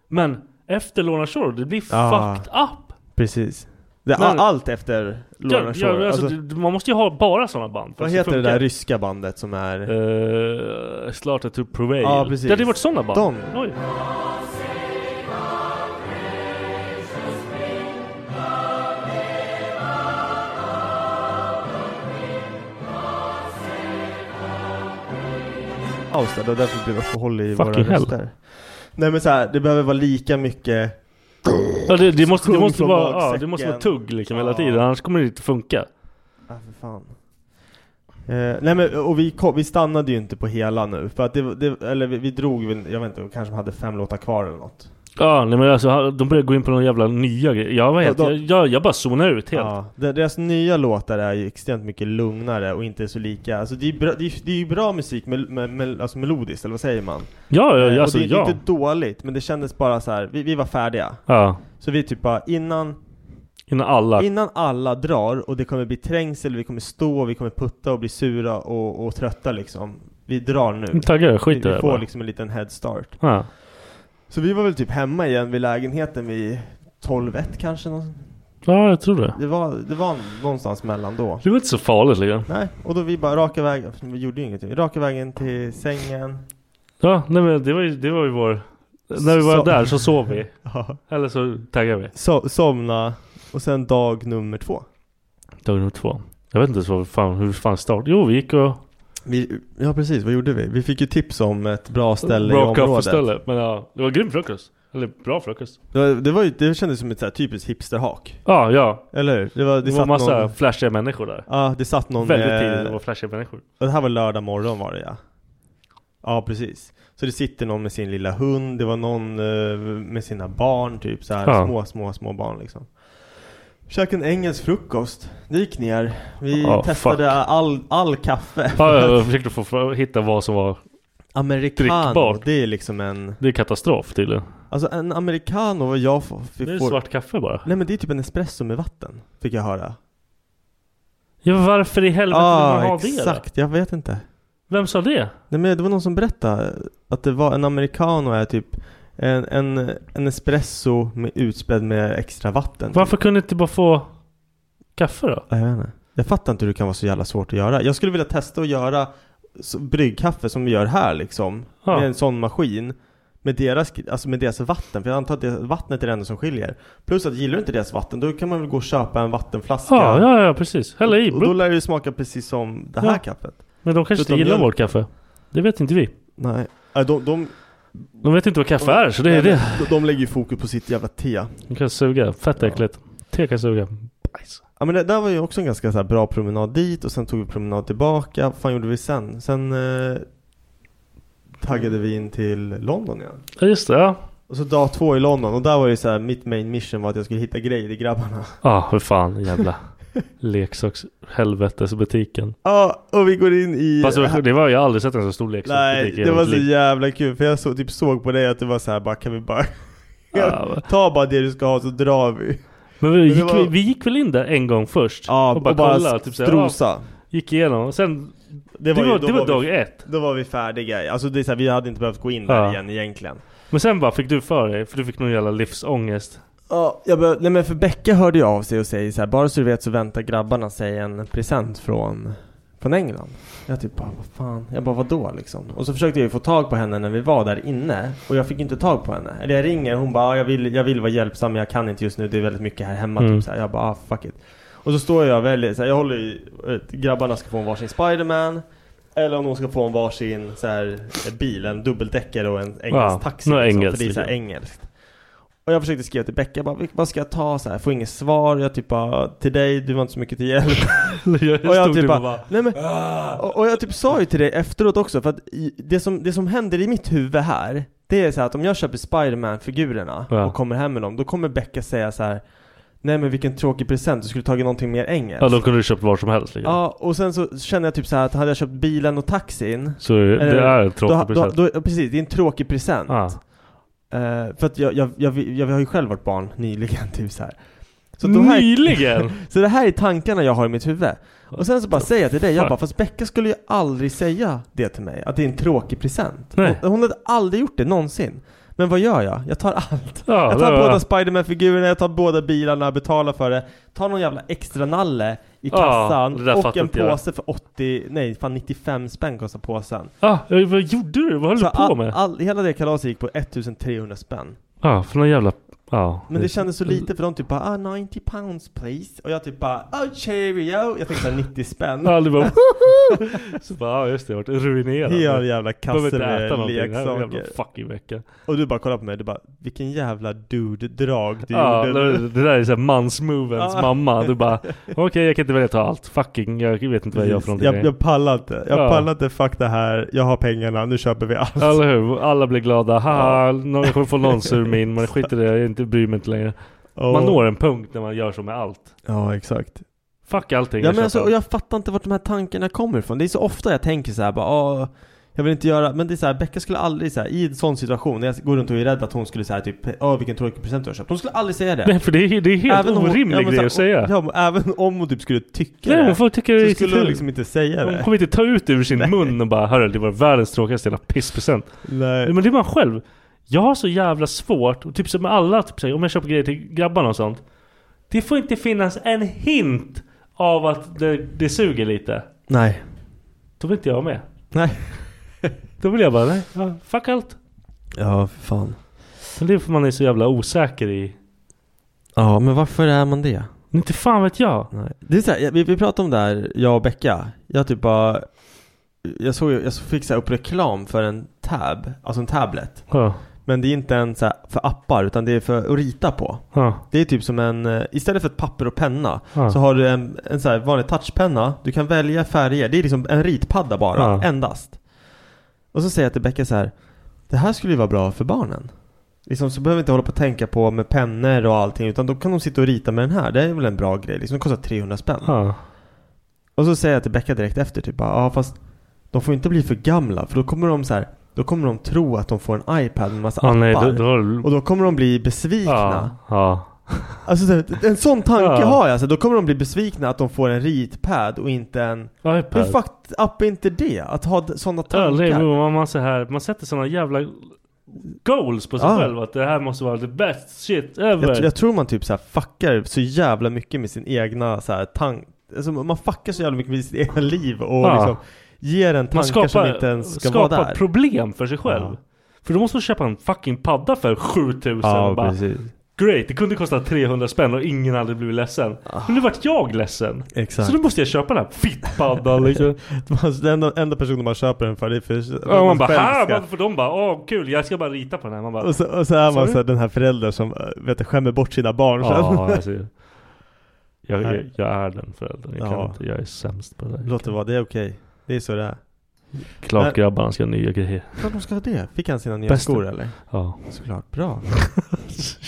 Men efter Lorna Shore, det blir Ja. fucked up. Precis. Det, Men- allt efter Ja, Lorna ja, Shore. alltså, Alltså, det- man måste ju ha bara sådana band. för vad att det heter det funkar. där ryska bandet som är... Uh, Slaughter to Prevail. Ja, precis. Det hade ju varit sådana band. De. Oj. Avstad och därför blev uppehåll i Fucking våra hell. röster. Nej men så här, det behöver vara lika mycket... Ja, det, det, måste, det, Sjung måste från vara, ja, det magsäcken. måste vara tugg liksom hela Ja. tiden, annars kommer det inte funka. Ja, för fan. Eh, nej men och vi, kom, vi stannade ju inte på hela nu för att det, det eller vi, vi drog väl, jag vet inte, kanske de hade fem låtar kvar eller något. Ja, nej, men alltså, de började gå in på några jävla nya grejer. Jag, var helt, Ja, de- jag, jag, jag bara zonade ut helt. Ja, de- deras nya låtar är ju extremt mycket lugnare och inte så lika, alltså det är ju bra, det är, det är ju bra musik, mel, mel, mel, alltså melodiskt eller vad säger man? Ja, Eh, ja, och alltså, det, det är ja. inte dåligt, men det kändes bara så här. Vi, vi var färdiga. ja. Så vi typ bara, innan, Innan alla. innan alla drar och det kommer bli trängsel, vi kommer stå, vi kommer putta och bli sura och, och trötta liksom. vi drar nu. Taggar jag, skit i vi, det vi här får bara. liksom en liten head start. Ja. Så vi var väl typ hemma igen vid lägenheten vid 12 kanske. någon- ja, jag tror det. Det var, det var någonstans mellan då. Det var inte så farligt liksom. Nej, och då vi bara raka vägen, vi gjorde ju ingenting, raka vägen till sängen. Ja, nej, men det var ju, det var ju vår... När vi var Så- där så sov vi. Ja. Eller så taggade vi. So- somna och sen dag nummer två. Dag nummer två. Jag vet inte ens vad fan, hur fan start... Jo, vi gick och... Vi, ja precis, vad gjorde vi? Vi fick ju tips om ett bra ställe i Bra området. kaffeställe. Men ja, det var grym frukost. Eller bra frukost. Det, var, det, var ju, det kändes som ett så här typiskt hipsterhak. Ja, ja. Eller hur? Det var, det Det var satt massa någon, flashiga människor där. Ja, det satt någon Väldigt med- eh, tidigt det var flashiga människor. och Det här var lördag morgon var det ja. Ja precis. Så det sitter någon med sin lilla hund, det var någon eh, med sina barn typ så här Ja. små, små, små barn liksom. Käkade en engelsk frukost. Det gick ner. Vi Ja, testade all, all kaffe. Ja, ja, jag försökte få- få hitta vad som var... Americano, drickbart. det är liksom en... Det är katastrof tydligen. Alltså en americano, vad jag får... Det är svart kaffe bara. Nej men det är typ en espresso med vatten, fick jag höra. Ah, Ja, varför i helvete vill man ha det då? exakt. Jag vet inte. Vem sa det? Nej men det var någon som berättade att det var en americano är typ en, en, en espresso med, utspädd med extra vatten. Varför kunde inte bara få kaffe då? Jag vet inte. Jag fattar inte hur det kan vara så jävla svårt att göra. Jag skulle vilja testa att göra så- bryggkaffe som vi gör här liksom. Ja. Med en sån maskin. Med deras, alltså med deras vatten. För jag antar att det, vattnet är det enda som skiljer. Plus att gillar du inte deras vatten då kan man väl gå och köpa en vattenflaska. Ja, ja, ja precis. Hälla i. Och då blubb. lär det ju smaka precis som det här Ja. kaffet. Men de kanske inte Utom gillar mjölk. vårt kaffe. Det vet inte vi. Nej. Äh, De, de, De vet inte vad kaffe är, så det nej, är det. men De, de lägger ju fokus på sitt jävla te. De kan suga. Fett äckligt. Te kan suga. Bajs. Ja men det där var ju också en ganska så här bra promenad dit och sen tog vi promenad tillbaka. Vad fan gjorde vi sen? Sen eh, taggade vi in till London igen. Ja, just det. Ja, Och så dag två i London och där var ju så här mitt main mission var att jag skulle hitta grejer i grabbarna. ah, hur fan. Jävla leksakshelvetesbutiken. Ja och vi går in i... Fast det var- det var, jag har aldrig sett en så stor leksaksbutik. Nej i det hela var mitt så liv. jävla kul för jag så, typ såg på dig att det var så här bara kan vi bara Ja, men- Ta bara det du ska ha så drar vi. Men vi det gick, var- vi, vi gick väl in där en gång först? Ja, och bara, kolla. Typ såhär, ja, strosa. gick igenom. Och sen, det var, var det ju- var, då var vi- dag ett. Då var vi färdiga. Alltså det är så här, vi hade inte behövt gå in där Ja. igen egentligen. Men sen bara fick du för dig, för du fick någon jävla livsångest. Ja, jag behöv, nej men för Becka hörde ju av sig och säger så här, bara så du vet så väntar grabbarna sig en present från, från England. Jag typ bara, vad fan, jag bara vadå liksom? Och så försökte jag ju få tag på henne när vi var där inne och jag fick inte tag på henne. Eller jag ringer, hon bara, "Ja, jag vill, jag vill vara hjälpsam men jag kan inte just nu, det är väldigt mycket här hemma. Mm. Typ, så här. Jag bara, ah, fuck it. Och så står jag och väljer, så här, jag håller i, eh, grabbarna ska få en varsin Spiderman. Eller om de ska få en varsin så här, bil, en dubbeldäckare och en engelsk Ja, taxi. något Liksom, för engelskt, det är så här liksom. engelskt. Och jag försökte skriva till Becka, bara, "Vil- vad ska jag ta så här? Får inget svar, jag typ bara, till dig, du var inte så mycket till hjälp. Och jag typ bara, nej men, Ah. och, och jag typ sa ju till dig efteråt också, för att i- det som, det som händer i mitt huvud här, det är så här att om jag köper Spiderman-figurerna Ja. och kommer hem med dem, då kommer Becka säga så här, nej men vilken tråkig present, du skulle tagit någonting mer engelskt. Ja, då kunde du köpt var som helst. Liksom. Ja, och sen så känner jag typ så här att hade jag köpt bilen och taxin Så det Eller- är en då, tråkig då, present. då, ja, Precis, det är en tråkig present. Ja. Eh, för att jag, jag, jag, jag, jag har ju själv varit barn nyligen, typ så här. Så, att de här, Nyligen! så det här är tankarna jag har i mitt huvud. Och sen så bara säger jag till dig, jag fuck? bara, fast Becka skulle ju aldrig säga det till mig, att det är en tråkig present. Nej. Hon, hon hade aldrig gjort det någonsin. Men vad gör jag? Jag tar allt. Ja, jag det tar var- båda Spiderman-figurerna, jag tar båda bilarna, betalar för det. Tar någon jävla extra nalle Ja, i det kassan där och fattar en inte jag. påse för 80, nej fan 95 spänn kostar påsen. Ah, ja, vad gjorde du? Vad höll Så du på all, med? All, hela det kalaset gick på 1300 spänn. Ja, för någon jävla... Ja. Men det kändes så lite för de typ bara ah, 90 pounds please. Och jag typ bara oh cheerio. Jag tänkte såhär 90 spänn. Ja, du bara... så bara, ja just det, jag har varit ruinerad. Hel jävla Behöver kasse inte äta med någonting den här jävla leksaker. fucking veckan. Och du bara kollar på mig du bara vilken jävla dude-drag du Ja, gjorde. det, det där är såhär mansmovens Ja. mamma. Du bara, okej jag kan inte välja att ta allt. Fucking, jag vet inte vad jag gör för Precis. någonting. jag, jag pallar inte. Jag Ja. pallar inte, fuck det här, jag har pengarna, nu köper vi allt. Eller hur? Alla blir glada. Haha, någon kommer få någon sur min. Men skit i det, jag inte bryr mig inte längre. Och- Man når en punkt när man gör så med allt. Ja, exakt. Fuck allting. jag Ja, men köper alltså, allt. och jag fattar inte vart de här tankarna kommer ifrån. Det är så ofta jag tänker så här bara, "Ah, Jag vill inte göra, men det är så här, Becka skulle aldrig så här, i en sån situation, när jag går runt och är rädd att hon skulle säga typ Åh vilken tråkig present du har köpt. Hon skulle aldrig säga det. Nej, för det är- det är helt om hon- orimlig men så här, grej att säga. Ja, men även om hon typ skulle tycka Nej, det. hon får tycka det är Så skulle hon kul. liksom inte säga Hon det. kommer inte ta ut det ur sin mun och bara Hörru, det var världens tråkigaste jävla pisspresent. Nej. Men det är man själv. Jag har så jävla svårt, och typ som med alla, typ, så här, om jag köper grejer till grabbarna och sånt. Det får inte finnas en hint av att det, det suger lite. Nej. Då vill inte jag med. Nej. Då vill jag bara, nej, ja, fuck allt. Ja, för fan. Men det är för man är så jävla osäker i... Ja, men varför är man det? Inte fan vet jag. Nej. Det är så här, vi, vi pratade om det här, jag och Becka. Jag typ bara Jag såg jag fick så här upp reklam för en tab, alltså en tablet. Ja. Men det är inte en så här för appar utan det är för att rita på. Ja. Det är typ som en, eh, istället för ett papper och penna Ja. så har du en, en så här vanlig touchpenna. Du kan välja färger. Det är liksom en ritpadda bara, Ja. endast. Och så säger jag till Becka så här, det här skulle ju vara bra för barnen. Liksom, så behöver vi inte hålla på och tänka på med pennor och allting utan då kan de sitta och rita med den här. Det är väl en bra grej. Liksom, det kostar 300 spänn. Ja. Och så säger jag till Becka direkt efter typ bara, ja fast de får inte bli för gamla för då kommer de så här, då kommer de tro att de får en iPad med massa Ja, appar. Ah, nej, då- då har- Och då kommer de bli besvikna. Ja. ja. Alltså så här, en sån tanke Ja. har jag. Alltså, då kommer de bli besvikna att de får en ritpad och inte en... iPad. Hur fucked up är inte det? Att ha sådana tankar? Ja, det är- man, man, så här, man sätter sådana jävla goals på sig Ja. själv. Att det här måste vara the best shit ever. Ah. jag, jag tror man typ så här fuckar så jävla mycket med sin egna så här tank... Alltså, man fuckar så jävla mycket med sitt egna liv och Ja. liksom ger en tankar man skapar, som inte ens ska vara skapar där. problem för sig själv. Ja. För då måste man köpa en fucking padda för 7000 Ja, och bara, precis. Great, det kunde kosta 300 spänn och ingen hade blivit ledsen. Men nu vart jag ledsen. Ah. Exakt. Så nu måste jag köpa den här fittpaddan liksom. Den enda, enda personen man köper den för det är för... för Ja, att man bara själv här, ska- man, för de bara åh kul, jag ska bara rita på den här. Man bara, och, så, och så är man "Sorry?" så här, den här föräldern som äh, vet, du, skämmer bort sina barn Ja, sen. alltså, jag, jag, Nej. jag är den föräldern. Jag, Ja. kan inte, jag är sämst på det där. Låt det vara, det är okej. Det är så det är. Klart grabbarna ska ha nya grejer. Klart de ska ha det. Fick han sina nya Bästa. skor eller? Ja. Såklart. Bra.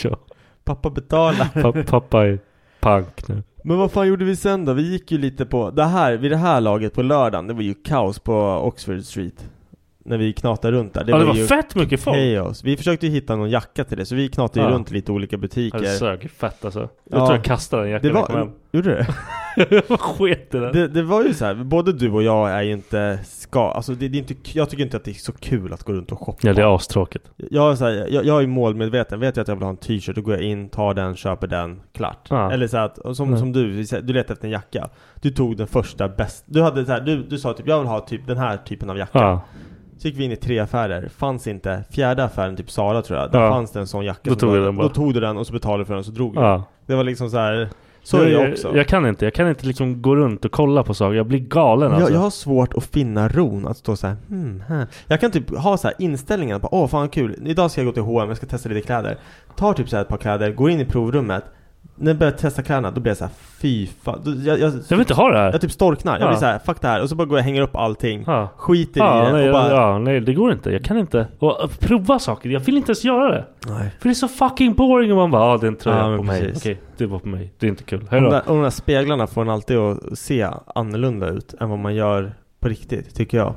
ja. Pappa betalar. Pa- pappa är pank nu. Men vad fan gjorde vi sen då? Vi gick ju lite på, det här, vid det här laget på lördagen, det var ju kaos på Oxford Street. När vi knatade runt där. Det ja, det var ju fett mycket folk. Chaos. Vi försökte ju hitta någon jacka till det, så vi knatade ju Ja. runt lite olika Ja, Det butiker. sög fett alltså. Jag Ja. tror jag kastade den jackan det när jag kom var, hem. gjorde du det? Jag sket i den. det? Det var ju så här, både du och jag är ju inte ska, alltså det, det är inte, jag tycker inte att det är så kul att gå runt och shoppa. Ja det är astråkigt. Jag, är så här, jag, jag är målmedveten, vet jag att jag vill ha en t-shirt då går jag in, tar den, köper den, klart. Ja. Eller så här att, och som, Mm. som du, du letade efter en jacka. Du tog den första bäst. Du, hade så här, du, du sa typ jag vill ha typ den här typen av jacka. Ja. Så gick vi in i tre affärer, fanns inte. Fjärde affären, typ Sara tror jag, där Ja. fanns det en sån jacka. Då som tog du jag hade. den bara. Då tog du den och så betalade du för den och så drog du. Ja. Det var liksom så här. så är jag också. Jag kan inte. Jag kan inte liksom gå runt och kolla på saker. Jag blir galen alltså. Jag, jag har svårt att finna ron att stå så här, hmm, här. Jag kan typ ha så här inställningen på, åh fan vad kul, idag ska jag gå till H&M, jag ska testa lite kläder. Tar typ så här ett par kläder, går in i provrummet. När jag börjar testa kläderna, då blir jag så här, fy fan. Då- Jag, jag, Jag vill inte ha det här. jag typ storknar, jag Ja. blir så här, fuck det här. Och så bara går jag och hänger upp allting. Ja. Skiter ja, i det nej, och bara, ja, nej, det går inte. Jag kan inte. Och att prova saker. Jag vill inte ens göra det. Nej. För det är så fucking boring om man bara ah, det är en tröja Ja, men på mig. precis. Okej, det var på mig. Det är inte kul. Och Hej de, då. där, och de där speglarna får en alltid att se annorlunda ut än vad man gör på riktigt, tycker jag.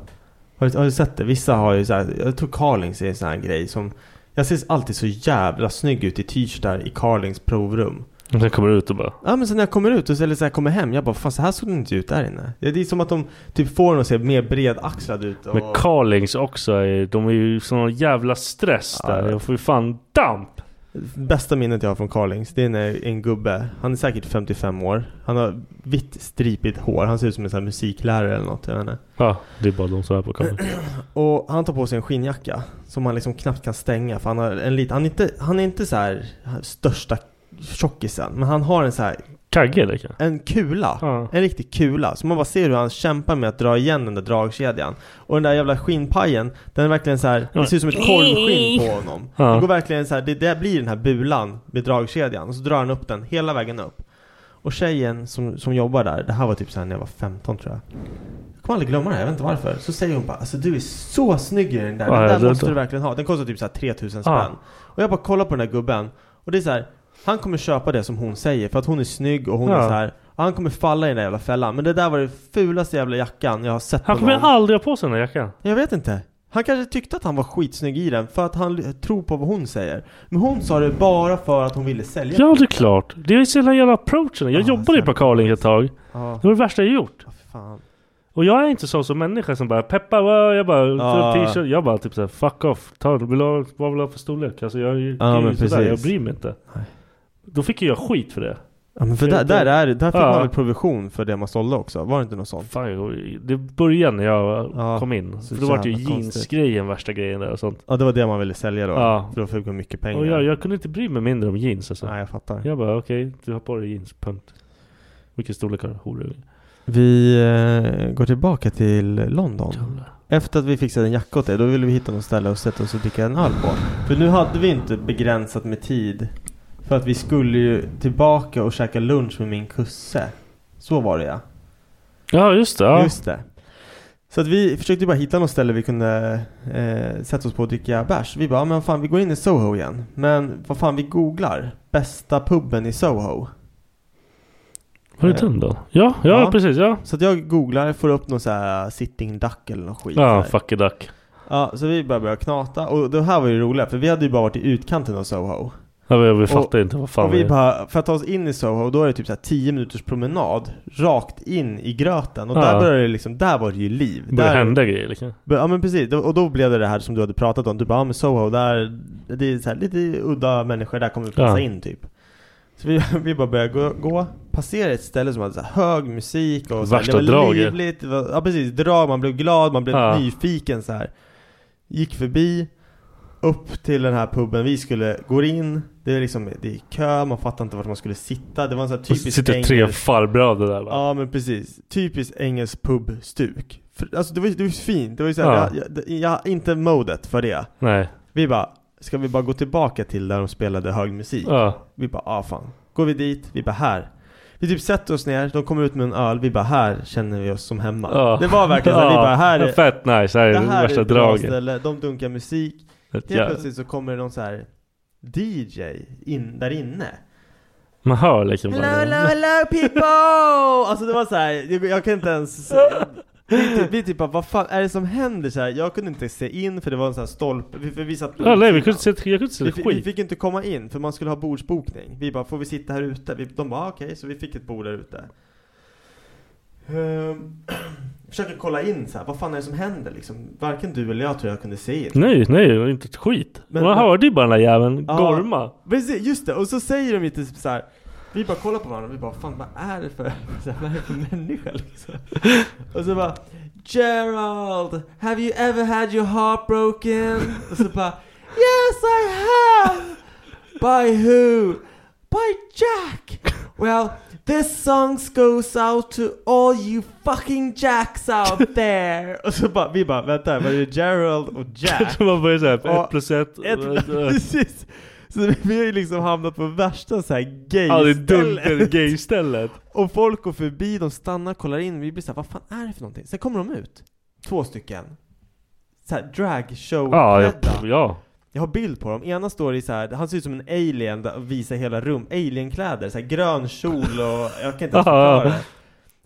Har du, har du sett det? Vissa har ju så här, jag tror Carlings är en sån här grej som jag ser alltid så jävla snygg ut i t-shirtar i Carlings provrum. Och sen kommer du ut och bara Ja men sen när jag kommer ut, och så- eller så här kommer hem, jag bara fan så här såg det inte ut där inne. Ja, Det är som att de typ får en att se mer bredaxlad ut och... Men Carlings också, är, de är ju sån jävla stress Ja, jag där. vet. Jag får ju fan damp! Bästa minnet jag har från Carlings, det är när en gubbe, han är säkert 55 år, han har vitt stripigt hår, han ser ut som en sån här musiklärare eller något, jag vet inte. Ja, det är bara de som är på Carlings. Och han tar på sig en skinnjacka som han liksom knappt kan stänga för han har en liten, han är inte, han är inte så här största tjockisen men han har en så här, Kagge eller kanske? en kula. Ja. En riktig kula. Så man bara ser hur han kämpar med att dra igen den där dragkedjan. Och den där jävla skinnpajen, den är verkligen så här, det ser ut som ett korvskinn på honom. Ja. Det går verkligen så här, det där blir den här bulan med dragkedjan. Och så drar han upp den hela vägen upp. Och tjejen som, som jobbar där, det här var typ så här när jag var 15 tror jag. Jag kommer aldrig glömma det, här, jag vet inte varför. Så säger hon bara alltså du är så snygg i den där, Ja, den ja, där det- måste det- du verkligen ha. Den kostar typ så här 3000 spänn. Ja. Och jag bara kollar på den här gubben och det är så här, han kommer köpa det som hon säger för att hon är snygg och hon Ja. är så här, ja "Ah, Han kommer falla i den där jävla fällan. Men det där var den fulaste jävla jackan jag har sett Han på kommer någon. aldrig ha på sig den där jackan. Jag vet inte. Han kanske tyckte att han var skitsnygg i den för att han l- tror på vad hon säger. Men hon sa det bara för att hon ville sälja. Ja, det är klart. Det är ju så jävla jävla approachen. Jag jobbade ju på Carling ett tag. Ja. Det var det värsta jag gjort. Fan. Och jag är inte sån som människa som bara peppar, wow, jag bara Ja. tar en t-shirt, jag bara typ såhär fuck off, ta, den. vill du ha, vad vill du ha för storlek? Alltså jag, är ju- Ja, det är ju men sådär, jag precis. bryr mig inte. Då fick ju jag skit för det. Ja, men för Jag där, inte- där, är, det- där fick Ja. man väl provision för det man sålde också? Var det inte något sånt? Fan, jag- det började när jag kom in. så För då var det ju jävla konstigt. jeansgrejen värsta grejen där och sånt. Ja, det var det man ville sälja då? Ja. För då fick man mycket pengar? Och jag, jag kunde inte bry mig mindre om jeans alltså. Nej, jag fattar. Jag bara okej, du har på dig jeans, punkt. Vilken storlek har du? Horunge. Vi eh, går tillbaka till London. Efter att vi fixade en jacka åt dig, då ville vi hitta något ställe och sätta oss och dricka en öl på. För nu hade vi inte begränsat med tid. För att vi skulle ju tillbaka och käka lunch med min kusse. Så var det ja. Ja just det. Ja. Just det. Så att vi försökte bara hitta något ställe vi kunde eh, sätta oss på och dricka bärs. Vi bara, men fan vi går in i Soho igen. Men vad fan vi googlar. Bästa puben i Soho. Eh. Var det den då? Ja, ja, precis ja. Så att jag googlar, får upp någon så här sitting duck eller någon skit. Ja, så här. fuck it duck. ja, så vi bara börjar knata. Och det här var ju roliga för vi hade ju bara varit i utkanten av Soho. Ja, vi, vi Och- fattar inte vad fan och vi det är. bara, för att ta oss in i Soho, då är det typ så här 10 minuters promenad rakt in i gröten. Och Ja. där började det liksom, där var det ju liv. börjar där, hända grejer liksom. Ja men precis, och då blev det det här som du hade pratat om. Du bara, ja men Soho, där, det är så här, lite udda människor, där kommer vi passa Ja. in typ. Så vi, vi bara började gå, gå, passera ett ställe som hade så här hög musik och så här, Värsta det var drag, ju. livligt. Det var, ja precis, drag, man blev glad, man blev Ja. nyfiken så här. Gick förbi, upp till den här puben vi skulle, går in, det är liksom, det är kö, man fattar inte vart man skulle sitta. Det var en så här Och typisk sitter tre engelsk- farbröder där bara. Ja men precis, typiskt engelsk pubstuk. För- Alltså det var ju det var ju fint, det var ju såhär, Ja. jag, jag, jag, inte modet för det. Nej. Vi bara, ska vi bara gå tillbaka till där de spelade hög musik? Ja. Vi bara, ah fan. Går vi dit, vi bara här. Vi typ sätter oss ner, de kommer ut med en öl, vi bara här känner vi oss som hemma. Ja. Det var verkligen såhär, vi Ja, bara här är, Fett nice, här är det det här är värsta ett bra draget. ställe, de dunkar musik. Ett Helt jävla- plötsligt så kommer det någon så här DJ in, där inne. Man hör liksom Hello, bara- hello, hello people! Alltså det var så här, jag, jag kan inte ens... Vi typ, vi typ bara, vad fan är det som händer? Så här, jag kunde inte se in för det var en sån här stolpe, vi, för vi satt på Ja, nej, vi utsidan. kunde inte se, jag kunde inte se vi, ett fi- vi skit. fick inte komma in för man skulle ha bordsbokning. Vi bara, får vi sitta här ute? Vi, de bara, "Ah, okej, så vi fick ett bord där ute. Ehm, försöker kolla in så här, vad fan är det som händer liksom? Varken du eller jag tror jag kunde se in. Nej, nej, det var inte ett skit. Men- Man men- hörde ju bara den där jäveln Ja. gorma. Precis, just det, och så säger de ju typ så här. Vi bara kollar på varandra, vi bara fan vad är det för, så här, vad är det för människa liksom? Och så bara Gerald, have you ever had your heart broken? Och så bara Yes I have! By who? By Jack! Well, this song goes out to all you fucking jacks out there! Och så bara, vi bara vänta, var det Gerald och Jack? Så man börjar såhär, Ja, ett plus ett. Ett, precis! Så vi har ju liksom hamnat på värsta så här Ja, det är gay-stället. dunkel-gay-stället. och folk går förbi, de stannar, kollar in, vi blir såhär, vad fan är det för någonting? Sen kommer de ut, två stycken. Såhär Ja, dragshow-klädda. ja, pff, ja. Jag har bild på dem, ena står i såhär, han ser ut som en alien, där- visar hela rum, alienkläder, såhär grön kjol och, jag kan inte ens förklara det.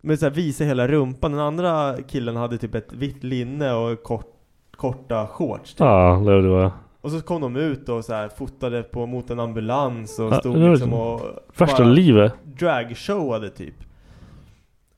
Men såhär visar hela rumpan, den andra killen hade typ ett vitt linne och kort, korta shorts Ja, det var det var. och så kom de ut och så här fotade på, mot en ambulans och Ja, stod det var liksom liksom och... Värsta bara livet. Dragshowade typ.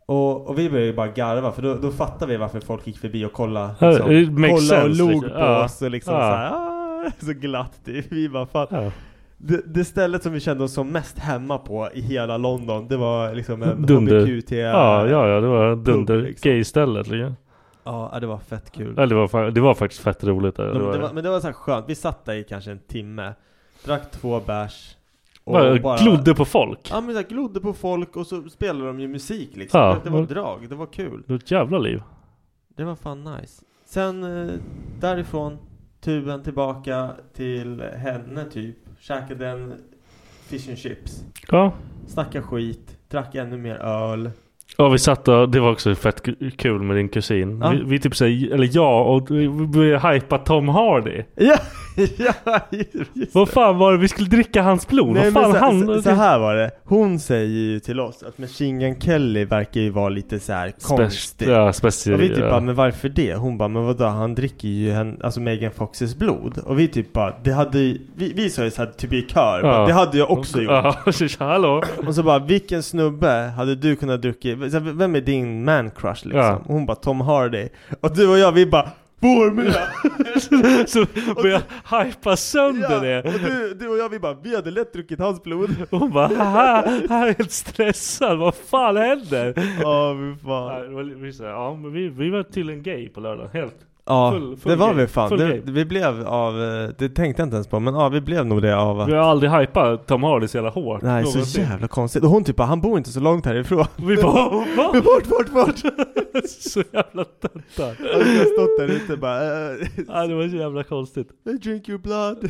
Och, och vi började ju bara garva för då, då fattade vi varför folk gick förbi och kollade. Ja, Liksom, it makes kollade och sense, log liksom. på Ja. oss och liksom Ja. så här, "Ah", så glatt typ. Vi bara fan. Ja. Det, det stället som vi kände oss som mest hemma på i hela London, det var liksom en Dunder. HBQT... Ja, ja, ja, det var Dubbel, liksom. dunder-gay-stället. Liksom. ja, det var fett kul. Ja, det, var, fa- det var faktiskt fett roligt. Där. Men Det var, det var, men det var så här skönt, vi satt där i kanske en timme, drack två bärs och bara, glodde på folk. Ja men så här, glodde på folk och så spelade de ju musik liksom. Ja. det, det var drag, det var kul. Det var ett jävla liv. Det var fan nice. Sen eh, därifrån, tuben tillbaka till henne typ. Käkade en fish and chips. Ja. Snackade skit, drack ännu mer öl. Ja vi satt och, det var också fett k- kul med din kusin. Ja. Vi, vi typ säger, eller jag och vi började hypa Tom Hardy. Ja, Vad fan var det? Vi skulle dricka hans blod? Nej, Vad men fan så, han... så, så här var det. Hon säger ju till oss att Machine Gun Kelly verkar ju vara lite så här konstig. ja, speciell, och vi typ ja. bara, men varför det? Hon bara, men vadå? Han dricker ju hen, alltså Megan Foxes blod. Och vi typ bara, det hade ju- vi, vi sa ju så här typ i kör. Bara, Ja. det hade jag också gjort. Ja, hallå. Och så bara, vilken snubbe hade du kunnat dricka? så här, Vem är din man crush liksom? Ja. Och hon bara, Tom Hardy. Och du och jag, vi bara, vår med! så börjar jag hypa sönder det. Och du, du och jag, vi bara, vi hade lätt druckit hans blod. Och hon bara, haha, han är helt stressad. Vad fan händer? Ja, oh, fan. Ja, det var li- vi, så här, ja, men vi, vi var tydligen gay på lördagen, helt. Ja, Full- full det var gay. vi fan. Full Det, gay. vi blev av, eh, det tänkte jag inte ens på, men ja vi blev nog det av att... Vi har aldrig hypat Tom Hardy så jävla hårt. Nej, så någonsin. jävla konstigt. Och hon typ bara, han bor inte så långt härifrån. Vi bara, va? Bort, bort, bort! så jävla töntar. Alltså, jag har stått där ute bara, eh, Ja, det var så jävla konstigt. I drink your blood.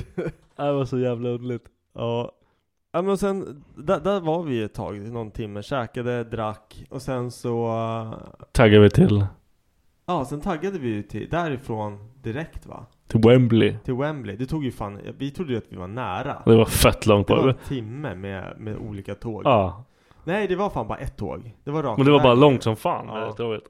Ja, Det var så jävla underligt. Ja. Ja men sen, där, där var vi ju ett tag, någon timme, käkade, drack och sen så... eh, Taggar vi till, Ja, sen taggade vi ju till, därifrån direkt va? till Wembley. Till Wembley. Det tog ju fan, vi trodde ju att vi var nära. Det var fett långt Det var bort. en timme med, med olika tåg. Ja, Nej, det var fan bara ett tåg. Det var rakt men det var bara vägen. långt som fan. Ja. det tåget.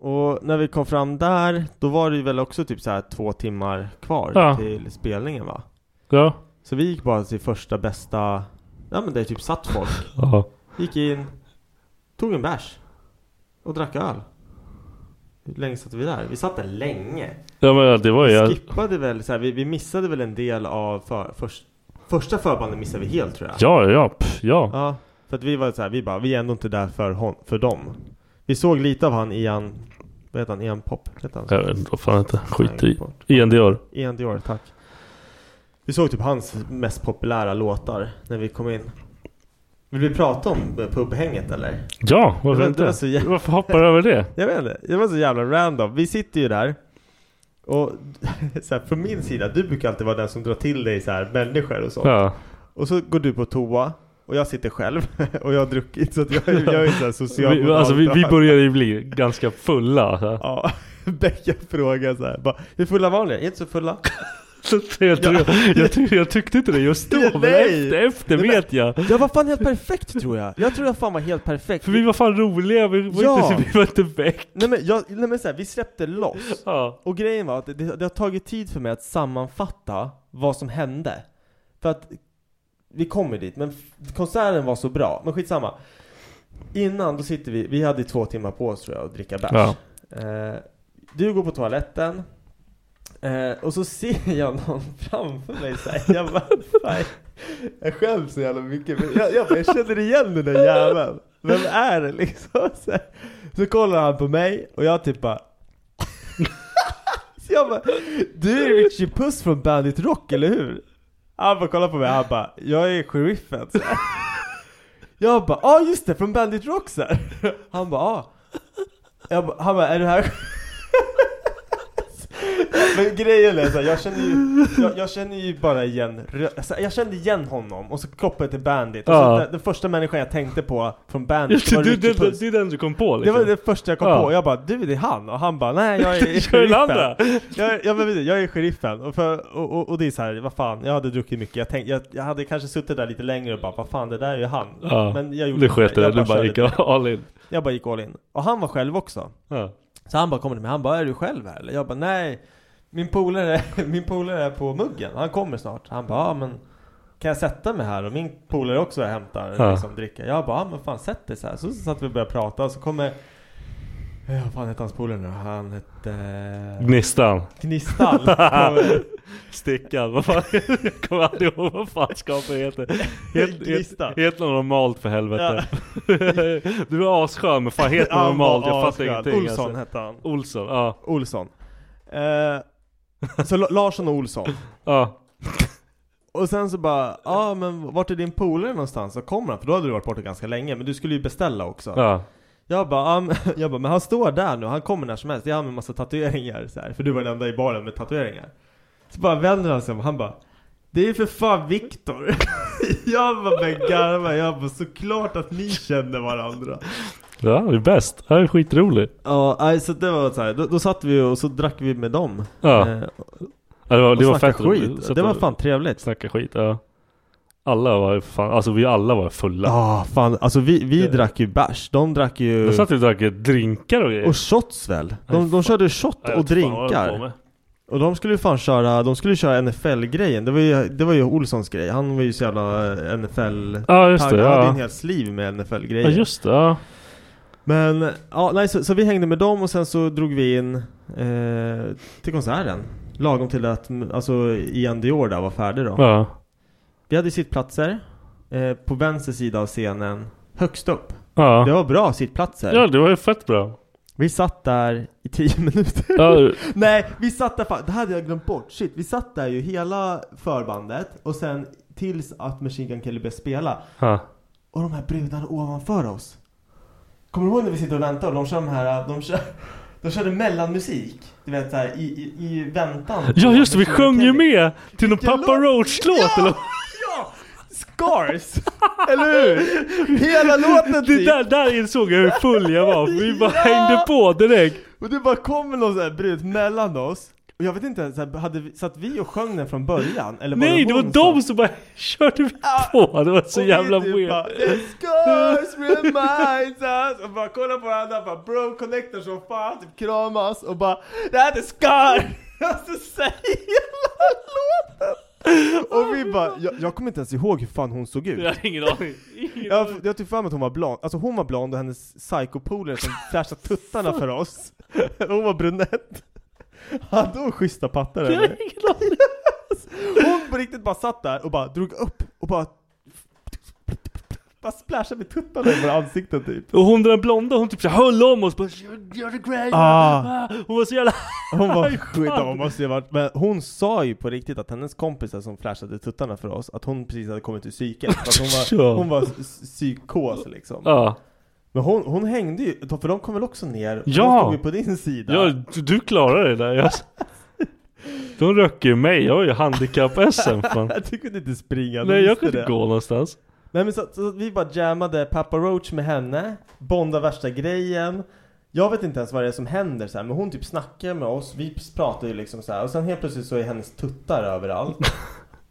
Och när vi kom fram där, då var det ju väl också typ så här två timmar kvar Ja. till spelningen va? Ja. Så vi gick bara till första bästa, ja men där typ satt folk. ja. Gick in, tog en bärs och drack öl. Hur länge satt vi där? Vi satt där länge. Ja men det var ju... Vi Jag, skippade väl så här, vi, vi missade väl en del av för, först, första förbandet missade vi helt tror jag. ja, ja, pff, ja. Ja, för att vi var så här, vi bara, vi är ändå inte där för, hon, för dem. Vi såg lite av han Ian, vad heter han, Ian Pop? Heter han? så? Jag vet inte vad fan heter. Skit Nej, i. bort. Ian Dior. Ian Dior, tack. Vi såg typ hans mest populära låtar när vi kom in. Vill vi prata om eh, pubhänget eller? Ja, Det varför var- inte? det var så jävla- Varför hoppar du över det? Jag vet inte, det var så jävla random. Vi sitter ju där och så här, från min sida, du brukar alltid vara den som drar till dig så här människor och sånt. Ja. Och så går du på toa och jag sitter själv och jag har druckit så att jag, jag är så här social. Vi, alltså, vi, vi började ju bli ganska fulla. Alltså. Ja, Becka frågar så här, bara, hur fulla var ni? Är inte så fulla? Så jag, tror, jag, tyck, jag tyckte inte det just då, men Nej. efter, efter Nej, men- vet jag. Jag var fan helt perfekt tror jag. Jag tror jag fan var helt perfekt. För vi var fan roliga, vi var Ja. inte, vi var inte väck. Nej men, jag, nej, men så här, vi släppte loss. Ja. Och grejen var att det, det har tagit tid för mig att sammanfatta vad som hände. För att vi kommer dit, men f- konserten var så bra. Men skitsamma. Innan då sitter vi, vi hade två timmar på oss tror jag att dricka bärs. Ja. Eh, du går på toaletten. Eh, och så ser jag någon framför mig så här, jag bara, fan, jag skäms så jävla mycket. men Jag, jag, bara, jag känner igen den där jäveln. Vem är det liksom? Så, här. så kollar han på mig och jag typ bara så jag bara, du är Richie Puss från Bandit Rock eller hur? Han bara kollar på mig, han bara, jag är sheriffen så här. Jag bara, ja ah, just det, från Bandit Rock så här. Han bara, ah. Jag bara, han bara, är du här? Men grejen är så här, jag känner ju, jag, jag känner ju bara igen, rö- alltså, jag kände igen honom och så kopplade till Bandit. Och så, Ja. den, den första människan jag tänkte på från Bandit Det, var det, Richie det, Puss. det är den du kom på Det liksom. var det första jag kom Ja. på, jag bara du det är han och han bara nej jag är Jag är den andra. jag, jag, men, jag är sheriffen och, för, och, och, och det är så här, vad fan, jag hade druckit mycket. Jag, tänkte, jag, jag hade kanske suttit där lite längre och bara, vad fan det där är ju han. Ja. Men jag gjorde Du sket inte i det. det, jag du bara körde gick det. all in. Jag bara gick all in. Och han var själv också. Ja. Så han bara kommer till mig, han bara, är du själv här eller? Jag bara, nej, min polare, min polare är på muggen, han kommer snart. Han bara, ja men kan jag sätta mig här? Och min polare också är och hämtar Ja. liksom dricka. Jag bara, ja men fan sätt dig så här. Så satt vi och började prata och så kommer, eh, vad fan hette hans polare nu? Han hette... Eh, Gnistan. Gnistan. Kommer- Stickan, vad fan, jag kommer aldrig ihåg vad fan skapet heter. Het- Gnista. het- Het något normalt för helvete. Du är asskön men fan het något Han var normalt, jag fattar asskön. ingenting. Olsson Alltså. hette han. Olsson, ja. Olsson. Eh, så La- Larsson och Olsson. ja. Och sen så bara, ja ah, men vart är din polare någonstans? Så kommer han, för då hade du varit borta ganska länge, men du skulle ju beställa också. ja. Jag bara, ah, men- jag bara, men han står där nu, han kommer när som helst. Det är han med massa tatueringar så här, för du var den enda i baren med tatueringar. Så bara vänder han sig om, han bara, det är ju för fan Viktor. jag bara började garva, jag bara, såklart att ni känner varandra. Ja, det är bäst. Det här är skitroligt. Ja, nej, så det var så här. Då, då satt vi och så drack vi med dem. Ja. Eh, Ja, det var, Och det var snacka fett skit. roligt. Så Det att- var fan trevligt. Snacka skit, ja. Alla var ju fan, alltså vi alla var fulla. Ja, fan. Alltså vi, vi drack ju bärs. De drack ju... De satt och drack drinkar och grejer. Och shots väl? De, de körde shot Ja, jag och vet fan vad de höll på drinkar. med. Och de skulle ju fan köra, de skulle ju köra NFL-grejen. Det var ju, det var ju Olssons grej. Han var ju så jävla eh, NFL... Ja, just det, taggad. Han ja. hade en hel sleeve med NFL-grejer. Ja, just det. Ja. Men, ja, nej, så, så vi hängde med dem och sen så drog vi in eh, till konserten. Lagom till att, mm, alltså Ian Dior där var färdig då. Ja. Vi hade sittplatser eh, på vänster sida av scenen, högst upp. Ja. Det var bra sittplatser. ja, det var ju fett bra. Vi satt där i tio minuter. Ja. Nej, vi satt där fan, det hade jag glömt bort. Shit, vi satt där ju hela förbandet och sen tills att Machine Gun Kelly började spela. Ja. Och de här brudarna ovanför oss. Kommer du ihåg när vi sitter och väntar och de kör de här, de kör, de körde mellanmusik. Du vet såhär i, i, i väntan. Ja just det, vi Machine Gun sjöng ju Kelly. med till någon Vilken Papa låt? Roach-låt Ja! eller? Ja! Scars! Eller hur? Hela låten Det typ. där, där insåg jag hur full jag var, för vi bara hängde på direkt. Och det bara kommer någon sån här brud mellan oss. Och jag vet inte ens, så här, hade vi, satt vi och sjöng den från början? Eller Nej, det var hon de som bara körde på. Det var så Och jävla vi typ weird. bara, "The Scars reminds us! Och bara kollar på varandra, bara bro connectar som fan, typ kramas och bara Det här är scar! Och så säger hela låten! Och vi bara, jag, jag kommer inte ens ihåg hur fan hon såg ut. Jag har ingen aning. Jag har jag har typ för mig att hon var blond, alltså hon var blond och hennes psykopolare som flashade tuttarna för oss Hon var brunett Hade hon schyssta pattar Jag har eller? ingen aning. Hon på riktigt bara satt där och bara drog upp och bara Bara splashade med tuttarna över ansiktet typ Och hon den blonda, hon typ så här höll om oss bara "You're- You're the great Ah. Hon var så jävla... Hon var Fan. skit, hon måste ju ha varit, men hon sa ju på riktigt att hennes kompisar som flashade tuttarna för oss Att hon precis hade kommit ur psyket, för att hon var, Ja. hon var s- s- psykos liksom Ja, Men hon, hon hängde ju, för de kom väl också ner? Hon Ja. stod ju på din sida ja du, du klarade det där. Jag... De röker ju mig, jag har ju handikapp-SM fan. Du kunde inte springa, du Nej jag visste kunde det. inte gå någonstans. Nej men så, så vi bara jammade Papa Roach med henne, bonda värsta grejen Jag vet inte ens vad det är som händer så här, men hon typ snackar med oss, vi pratar ju liksom så här, och sen helt plötsligt så är hennes tuttar överallt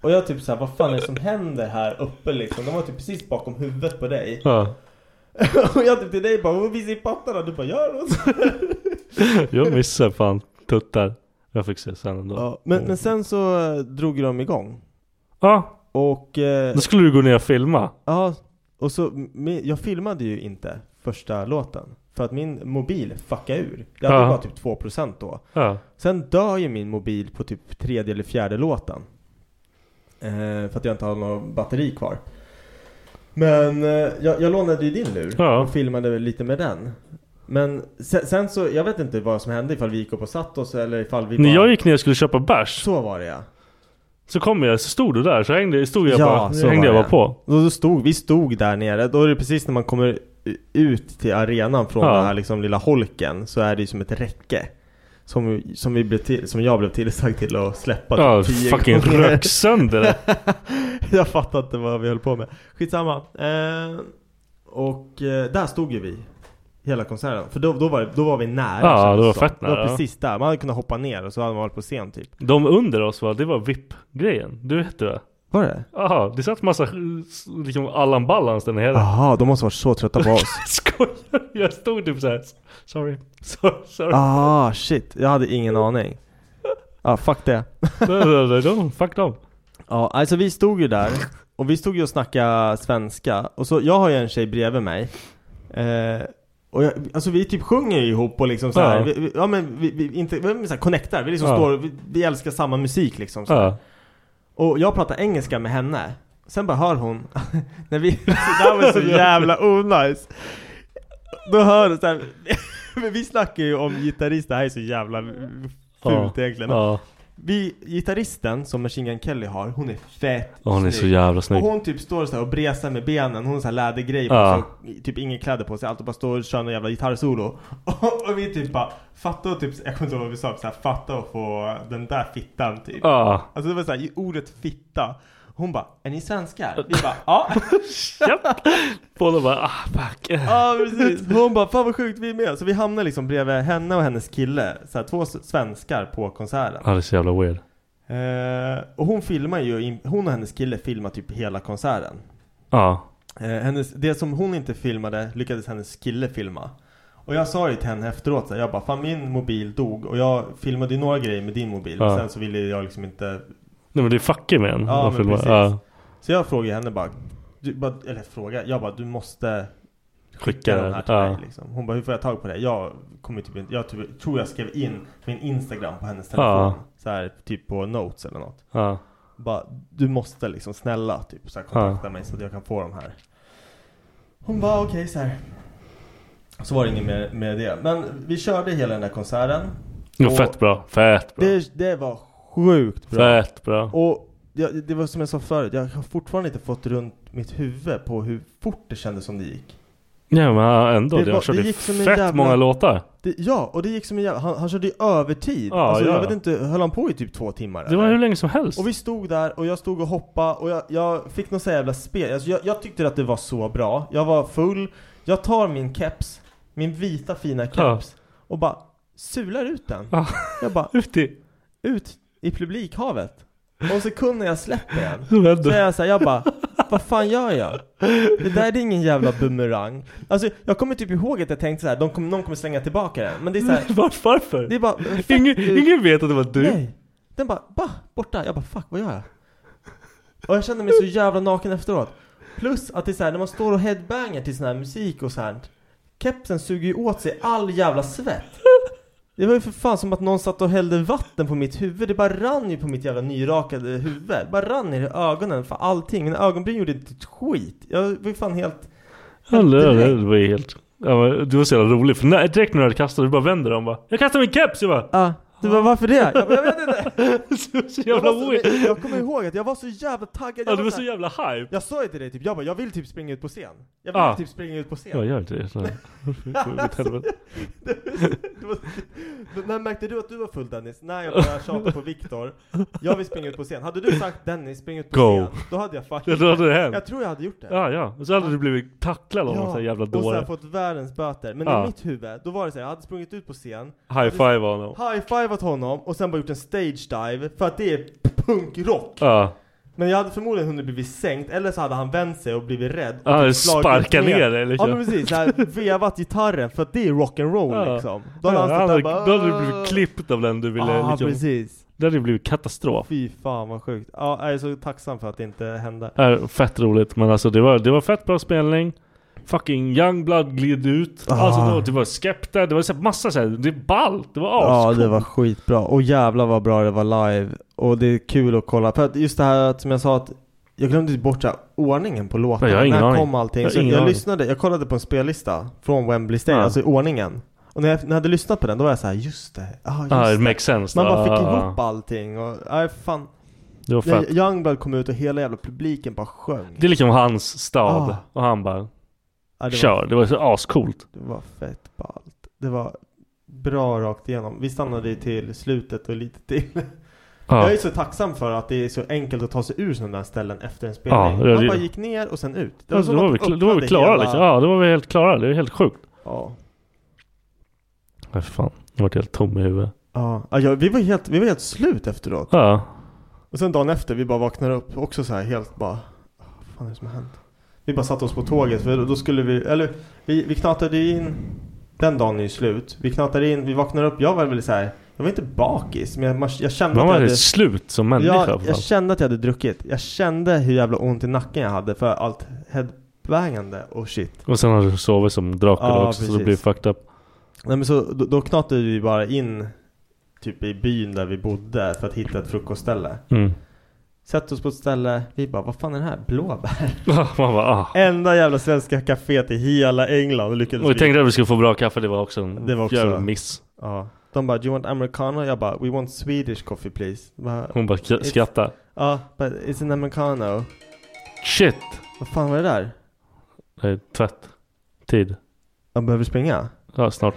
Och jag typ såhär, vad fan är det som händer här uppe liksom? De var typ precis bakom huvudet på dig Ja. Och jag typ till dig bara, "Åh, visa i pattarna, du bara gör något Jag missade fan tuttar. Jag fick se sen ändå. ja, men, men sen så eh, drog ju de igång Ja, Och eh, då skulle du gå ner och filma. Ja, och så, men jag filmade ju inte första låten För att min mobil fuckade ur Jag hade Ja. bara typ 2% då Ja. Sen dör ju min mobil på typ tredje eller fjärde låten eh, För att jag inte har någon batteri kvar Men eh, jag, jag lånade ju din lur Ja. och filmade väl lite med den Men sen, sen så, jag vet inte vad som hände ifall vi gick upp och satt oss eller ifall vi bara... När jag gick ner och skulle köpa bärs Så var det ja så kom jag, så stod du där, så hängde, stod jag Ja, bara, så så hängde jag var bara på. Och då stod, vi stod där nere, då är det precis när man kommer ut till arenan från Ja. den här liksom lilla holken så är det ju som ett räcke Som, som, vi blev till, som jag blev tillsagd till att släppa Ja, typ tio fucking gånger. rök sönder det. Jag fattar inte vad vi höll på med Skitsamma eh, Och eh, där stod ju vi Hela konserten, för då, då, var, det- då var vi nära Ja, kändes det var som. fett Det var nära. precis där, man hade kunnat hoppa ner och så hade man varit på scen typ De under oss va, det var VIP-grejen. Du vet det va? Var det? Jaha, det satt massa eh, liksom Allan Ballans där nere. Jaha, de måste varit så trötta på oss Skojar Jag stod typ såhär, sorry, sorry, sorry. Ah shit, jag hade ingen aning. ah, fuck det. Nej, nej, nej, de, fuck dem. Ja, alltså vi stod ju där och vi stod ju och snackade svenska och så, jag har ju en tjej bredvid mig. Eh, och jag, alltså vi typ sjunger ju ihop och liksom så här, Ja. vi, vi, ja men vi, vi inte, vi så här connectar, vi liksom Ja. står, vi, vi älskar samma musik liksom. Så. här. Ja. Och jag pratar engelska med henne. Sen bara hör hon, när vi, det här var så jävla onajs. Då hör hon så här, men vi snackar ju om gitarrist, det här är så jävla Ja. fult egentligen. Ja. Vi, gitarristen som Machine Gun Kelly har, hon är fett Ja, hon är så jävla snygg. Och hon typ står så här och bresar med benen, hon har så här lädergrej på Ja. sig, och typ ingen kläder på sig, allt och bara står och kör någon jävla gitarrsolo. Och, och vi typ bara, fatta och typ, jag kommer inte ihåg vad vi sa, så här, fatta och få den där fittan typ. Ja. Alltså det var så här, i ordet fitta. Hon bara, är ni svenskar? Vi bara, ja. Japp. Båda bara, ah fuck. Ja precis. Hon bara, fan vad sjukt vi är med. Så vi hamnar liksom bredvid henne och hennes kille. Så här, två s- svenskar på konserten. Ja, det är så jävla weird. Eh, och hon filmar ju, in- hon och hennes kille filmar typ hela konserten. Ja. Eh, hennes, det som hon inte filmade lyckades hennes kille filma. Och jag sa ju till henne efteråt så här, jag bara fan min mobil dog och jag filmade ju några grejer med din mobil. Ja. Sen så ville jag liksom inte Nej men det fuckar med en. Ja, att men filma. precis. Ja. Så jag frågade henne bara, du, bara eller fråga, jag bara du måste Skicka den här till ja. mig liksom. Hon bara hur får jag tag på det? Jag kommer typ inte, jag typ, tror jag skrev in min Instagram på hennes telefon. Ja. Så här, typ på notes eller något. Ja. Bara, du måste liksom snälla typ så här, kontakta mig så att jag kan få de här. Hon bara okej så här. Så var det inget mer med det. Men vi körde hela den där konserten. Jo, Och fett bra. Fett bra. Det, det var sjukt bra. Fett bra. Och jag, det var som jag sa förut, jag har fortfarande inte fått runt mitt huvud på hur fort det kändes som det gick. Ja men ja, ändå. Det Det, var- jag körde det gick som en fett jävla- många låtar. Det, ja, och det gick som en jävla... Han, han körde ju övertid. Ja, alltså, ja. jag vet inte, höll han på i typ två timmar? Det var hur länge som helst. Och vi stod där och jag stod och hoppade och jag, jag fick något så jävla spel. Alltså, jag, jag tyckte att det var så bra. Jag var full. Jag tar min keps, min vita fina keps och bara sular ut den. Jag bara ut i, ut i publikhavet. Och så kunde jag släpper den. Så Så är jag såhär, jag bara Vad fan gör jag? Det där är ingen jävla bumerang Alltså jag kommer typ ihåg att jag tänkte såhär, de kommer, någon kommer slänga tillbaka den Men det är såhär Varför? Det är bara Ingen, ingen vet att det var du. Nej. Den bara, bah, borta. Jag bara, fuck, vad gör jag? Och jag kände mig så jävla naken efteråt. Plus att det är så här, när man står och headbangar till sån här musik och sånt. Kepsen suger ju åt sig all jävla svett. Det var ju för fan som att någon satt och hällde vatten på mitt huvud. Det bara rann ju på mitt jävla nyrakade huvud. Det bara rann ner i ögonen för allting. Mina ögonbryn gjorde inte ett skit. Jag var ju fan helt... Eller, eller, det var ju helt... Ja, men du var så jävla rolig. För när, direkt när du hade kastat du bara vänder dig om bara Jag kastar min keps! Jag bara Ja. Du bara, varför det? Jag, bara, jag vet inte. så jävla jag, var så, weird. jag kommer ihåg att jag var så jävla taggad. Ja, Jag du var så här- jävla hype. Jag sa ju till dig typ, jag bara, jag vill typ springa ut på scen. Jag vill Ah. typ springa ut på scen. Ja gör inte det. Så här. Mitt helvete. Det var, Men när märkte du att du var full Dennis? När jag började tjata på Viktor, jag vill springa ut på scen. Hade du sagt Dennis, spring ut på Go. scen, då hade jag fucking... Ja, då hade det hänt. Jag tror jag hade gjort det. Ja ja. Och så hade du blivit tacklad av någon Ja, sån här jävla och så har dåre. jag fått världens böter. Men Ja. i mitt huvud, då var det så här, jag hade sprungit ut på scen. High five honom. High-fivat honom och sen bara gjort en stage dive, för att det är punkrock. Ja. Men jag hade förmodligen hunnit blivivit sänkt, eller så hade han vänt sig och blivit rädd och Ja, typ slagit sparka ner dig, liksom. Ja men precis, så här, vevat gitarren för att det är rock'n'roll Ja. liksom Då Då hade han stått hade där då hade du bara blivit klippt av den du ville Ja, liksom. precis. Det hade ju blivit katastrof. Fy fan vad sjukt, ja, jag är så tacksam för att det inte hände Är fett roligt men alltså det var, det var fett bra spelning. Fucking Youngblood gled ut. Ah. Alltså det var, det var Skepta, det var så här massa såhär, det är ballt, det var Ja ascoolt. det var skitbra, och jävla vad bra det var live Och det är kul att kolla, för att just det här att, som jag sa att Jag glömde ju bort så här, ordningen på låtarna, Jag har ingen när aning. kom allting? Jag har så ingen jag aning. lyssnade, jag kollade på en spellista från Wembley Stadium, Ja. alltså ordningen Och när jag, när jag hade lyssnat på den, då var jag så här, just det, ah, just Ja, det. it makes sense. Man bara fick Ja, ja, ihop allting och, nej fan Det var När fett. Youngblood kom ut och hela jävla publiken bara sjöng Det är liksom hans stad. Ah. Och han bara Ja, det var- kör. Det var så ascoolt. Det var fett ballt Det var bra rakt igenom Vi stannade ju till slutet och lite till Ja. Jag är så tacksam för att det är så enkelt att ta sig ur sådana där ställen efter en Ja, spelning det- Man bara gick ner och sen ut Alltså, som då, var att vi, de kla- då var vi öppnade klara hela- liksom. Ja, då var vi helt klara. Det är helt sjukt. Ja, Nej för fan. Jag vart helt tom i huvudet. ja. ja ja, vi, var helt, vi var helt slut efteråt Ja. Och sen dagen efter, vi bara vaknade upp också så här helt bara Vad fan är det som har hänt? Vi bara satte oss på tåget för då skulle vi, eller vi, vi knatade ju in Den dagen är ju slut Vi knatade in, vi vaknade upp, jag var väl så här Jag var inte bakis men jag, man- jag kände Man att var jag helt slut som människa. jag, för fan. jag kände att jag hade druckit Jag kände hur jävla ont i nacken jag hade för allt headbangande och shit Och sen har du sovit som drakar Ja, också så precis. det blir fucked up. Nej men så då, då knatade vi bara in Typ i byn där vi bodde för att hitta ett frukostställe Mm. Sätt oss på ett ställe, vi bara vad fan är det här? Blåbär? Man bara, ah. Enda jävla svenska kaféet i hela England och lyckades Och vi tänkte att vi skulle få bra kaffe. Det var också en Det var också- jävla miss. Ja. De bara, do you want americano? Jag bara, we want Swedish coffee please bara, Hon bara "It's- skrattade. Ja, but it's an americano Shit! Vad fan var det där? Nej, tvätt. Tid. De behöver springa? Ja, snart.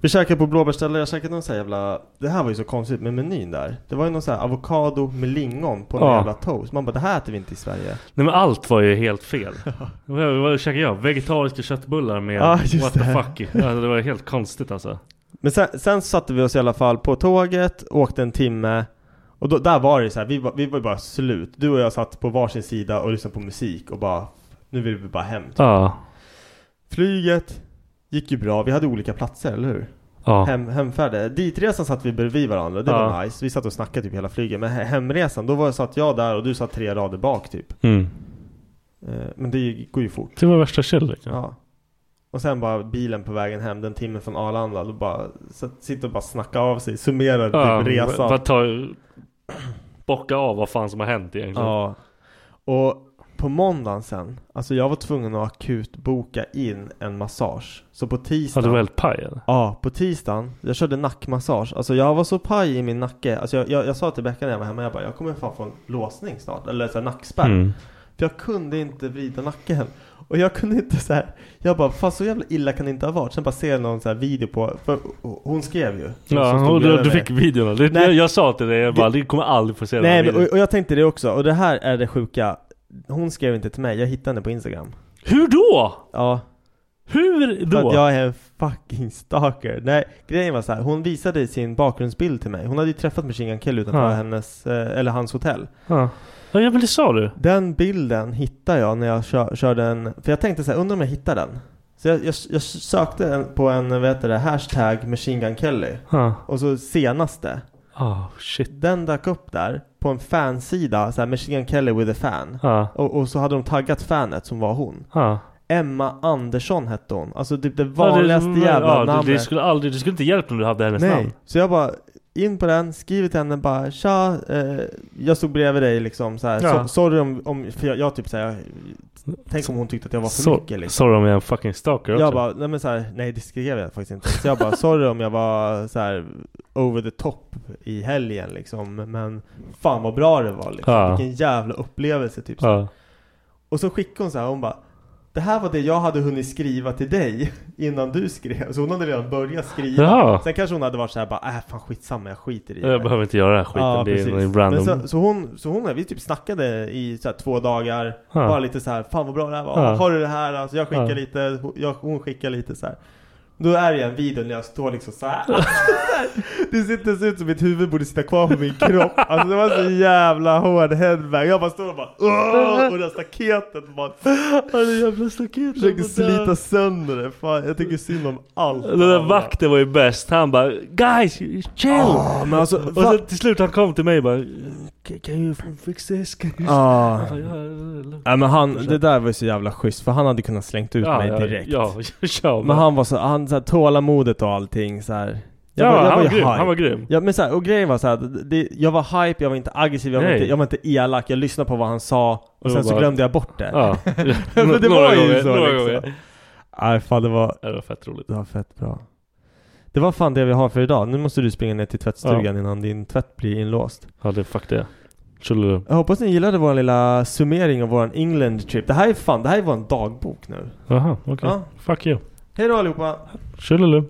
Vi käkade på blåbärsställe, jag käkade någon sån här jävla Det här var ju så konstigt med menyn där Det var ju någon sån här avokado med lingon på en Ja. jävla toast Man bara det här äter vi inte i Sverige Nej men allt var ju helt fel. Vad vad käkade jag? Vegetariska köttbullar med Ja, just what det. the fuck. i. Alltså, det var helt konstigt alltså. Men sen, sen satte vi oss i alla fall på tåget, åkte en timme Och då, där var det ju så här, vi var, vi var ju bara slut Du och jag satt på varsin sida och lyssnade på musik och bara Nu vill vi bara hem typ. Ja. Flyget gick ju bra, vi hade olika platser, eller hur? Ja. Hem, hemfärde. Ditresan satt vi bredvid varandra, det Ja. var nice. Vi satt och snackade typ hela flyget. Men he- hemresan, då var, satt jag där och du satt tre rader bak typ. Mm. Eh, Men det gick- går ju fort. Det var värsta kärlek. Ja. Och sen bara bilen på vägen hem, den timmen från Arlanda, då bara satt- sitter och bara snacka av sig, summerar Ja, typ resan. Bara ta, bocka av vad fan som har hänt egentligen. Ja. Och på måndagen sen, alltså jag var tvungen att akut boka in en massage. Så på Ja, tisdagen. du var helt paj eller? Ja, på tisdagen, jag körde nackmassage. Alltså jag var så paj i min nacke. Alltså jag, jag, jag sa till Becka när jag var hemma, jag bara jag kommer fan få en låsning snart. Eller så här, nackspärr. Mm. För jag kunde inte vrida nacken. Och jag kunde inte så här. jag bara fan så jävla illa kan det inte ha varit. Sen bara ser jag någon så här video på, för hon skrev ju. Som Ja, stod och du, bredvid du mig. fick videorna. Det, Nej. jag, jag sa till dig, jag bara, du kommer aldrig få se Nej, den här men, och, videon. och jag tänkte det också. Och det här är det sjuka. Hon skrev inte till mig, jag hittade henne på Instagram. Hur då? Ja. Hur För då? att jag är en fucking stalker. Nej, grejen var så här. Hon visade sin bakgrundsbild till mig. Hon hade ju träffat Machine Gun Kelly utanför Ja. hennes, eh, eller hans hotell. Ja. Ja, ja, men det sa du. Den bilden hittade jag när jag kör, körde en, för jag tänkte så här, undrar om jag hittar den. Så jag, jag, jag sökte en- på en, vad heter det, hashtag Machine Gun Kelly. Ja. Och så senaste. Ah, shit. Den dök upp där på en fansida, så här Machine Gun Kelly with a fan. Ja. Och, och så hade de taggat fanet som var hon. Ja. Emma Andersson hette hon. Alltså typ det Ja, det- vanligaste jävla ja, namnet. Det, det, skulle aldrig, det skulle inte hjälpt om du hade hennes namn. Så jag bara in på den, skriver till henne bara tja, eh, jag stod bredvid dig liksom så här. Ja. So, sorry om, om för jag, jag typ så här, jag, tänk om hon tyckte att jag var för Så- mycket liksom. Sorry om jag är en fucking stalker också. Jag bara, nej men så här, nej det skrev jag faktiskt inte. Så jag bara, sorry om jag var så här over the top i helgen liksom. Men fan vad bra det var liksom. Ja. Vilken jävla upplevelse typ. så. Ja. Och så skickade hon så här, hon bara Det här var det jag hade hunnit skriva till dig innan du skrev. Så hon hade redan börjat skriva. Jaha. Sen kanske hon hade varit så här bara, äh fan skitsamma jag skiter i det. Jag behöver inte göra den här skiten. det är precis. en random. Men så, så hon, så hon, vi typ snackade i så här två dagar. Ja. Bara lite så här, fan vad bra det här var. Ja. Har du det här? Alltså jag skickar Ja. lite, hon- jag, hon skickar lite så här. Då är det en video när jag står liksom så här. det ser inte så ut som mitt huvud borde sitta kvar på min kropp. Alltså det var så jävla hård headbang. Jag bara står och bara Åh! Och det här staketet bara Ja, det jävla staketet. försöker slita sönder det. Fan, jag tycker synd om allt. Den där vakten var ju bäst. Han bara 'Guys, chill!' Ja, men alltså, och va- sen till slut han kom till mig och bara 'Can can you fix this?' Can you... Ja. Jag bara, "Ja, lugnt." Ja, men han, det där var ju så jävla schysst för han hade kunnat slängt ut ja, mig ja, direkt. Ja, ja, Men han var så, han så här, tålamodet och allting så här. ja, han, var ju grym, hype. han var grym. Ja men så här, och grejen var så här, det, jag var hype, jag var inte aggressiv, jag var, Nej. inte, jag var inte elak, jag lyssnade på vad han sa och Det sen var så bara- glömde jag bort det. Ja. Men det Några var ju gånger, så några liksom. gånger. Nej fan det var, Ja, Det var fett roligt. det var fett bra. Det var fan det vi har för idag, nu måste du springa ner till tvättstugan innan din tvätt blir inlåst. Ja, det fuck det. Tjolulu. Jag hoppas ni gillade vår lilla summering av våran England trip. Det här är fan, det här är våran dagbok nu. Jaha, okej. Ja. Fuck you. Hej då allihopa! Tjolulu.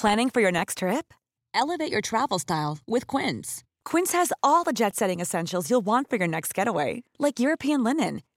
Planning for your next trip? Elevate your travel style with Quince. Quince has all the jet setting essentials you'll want for your next getaway, like European linen,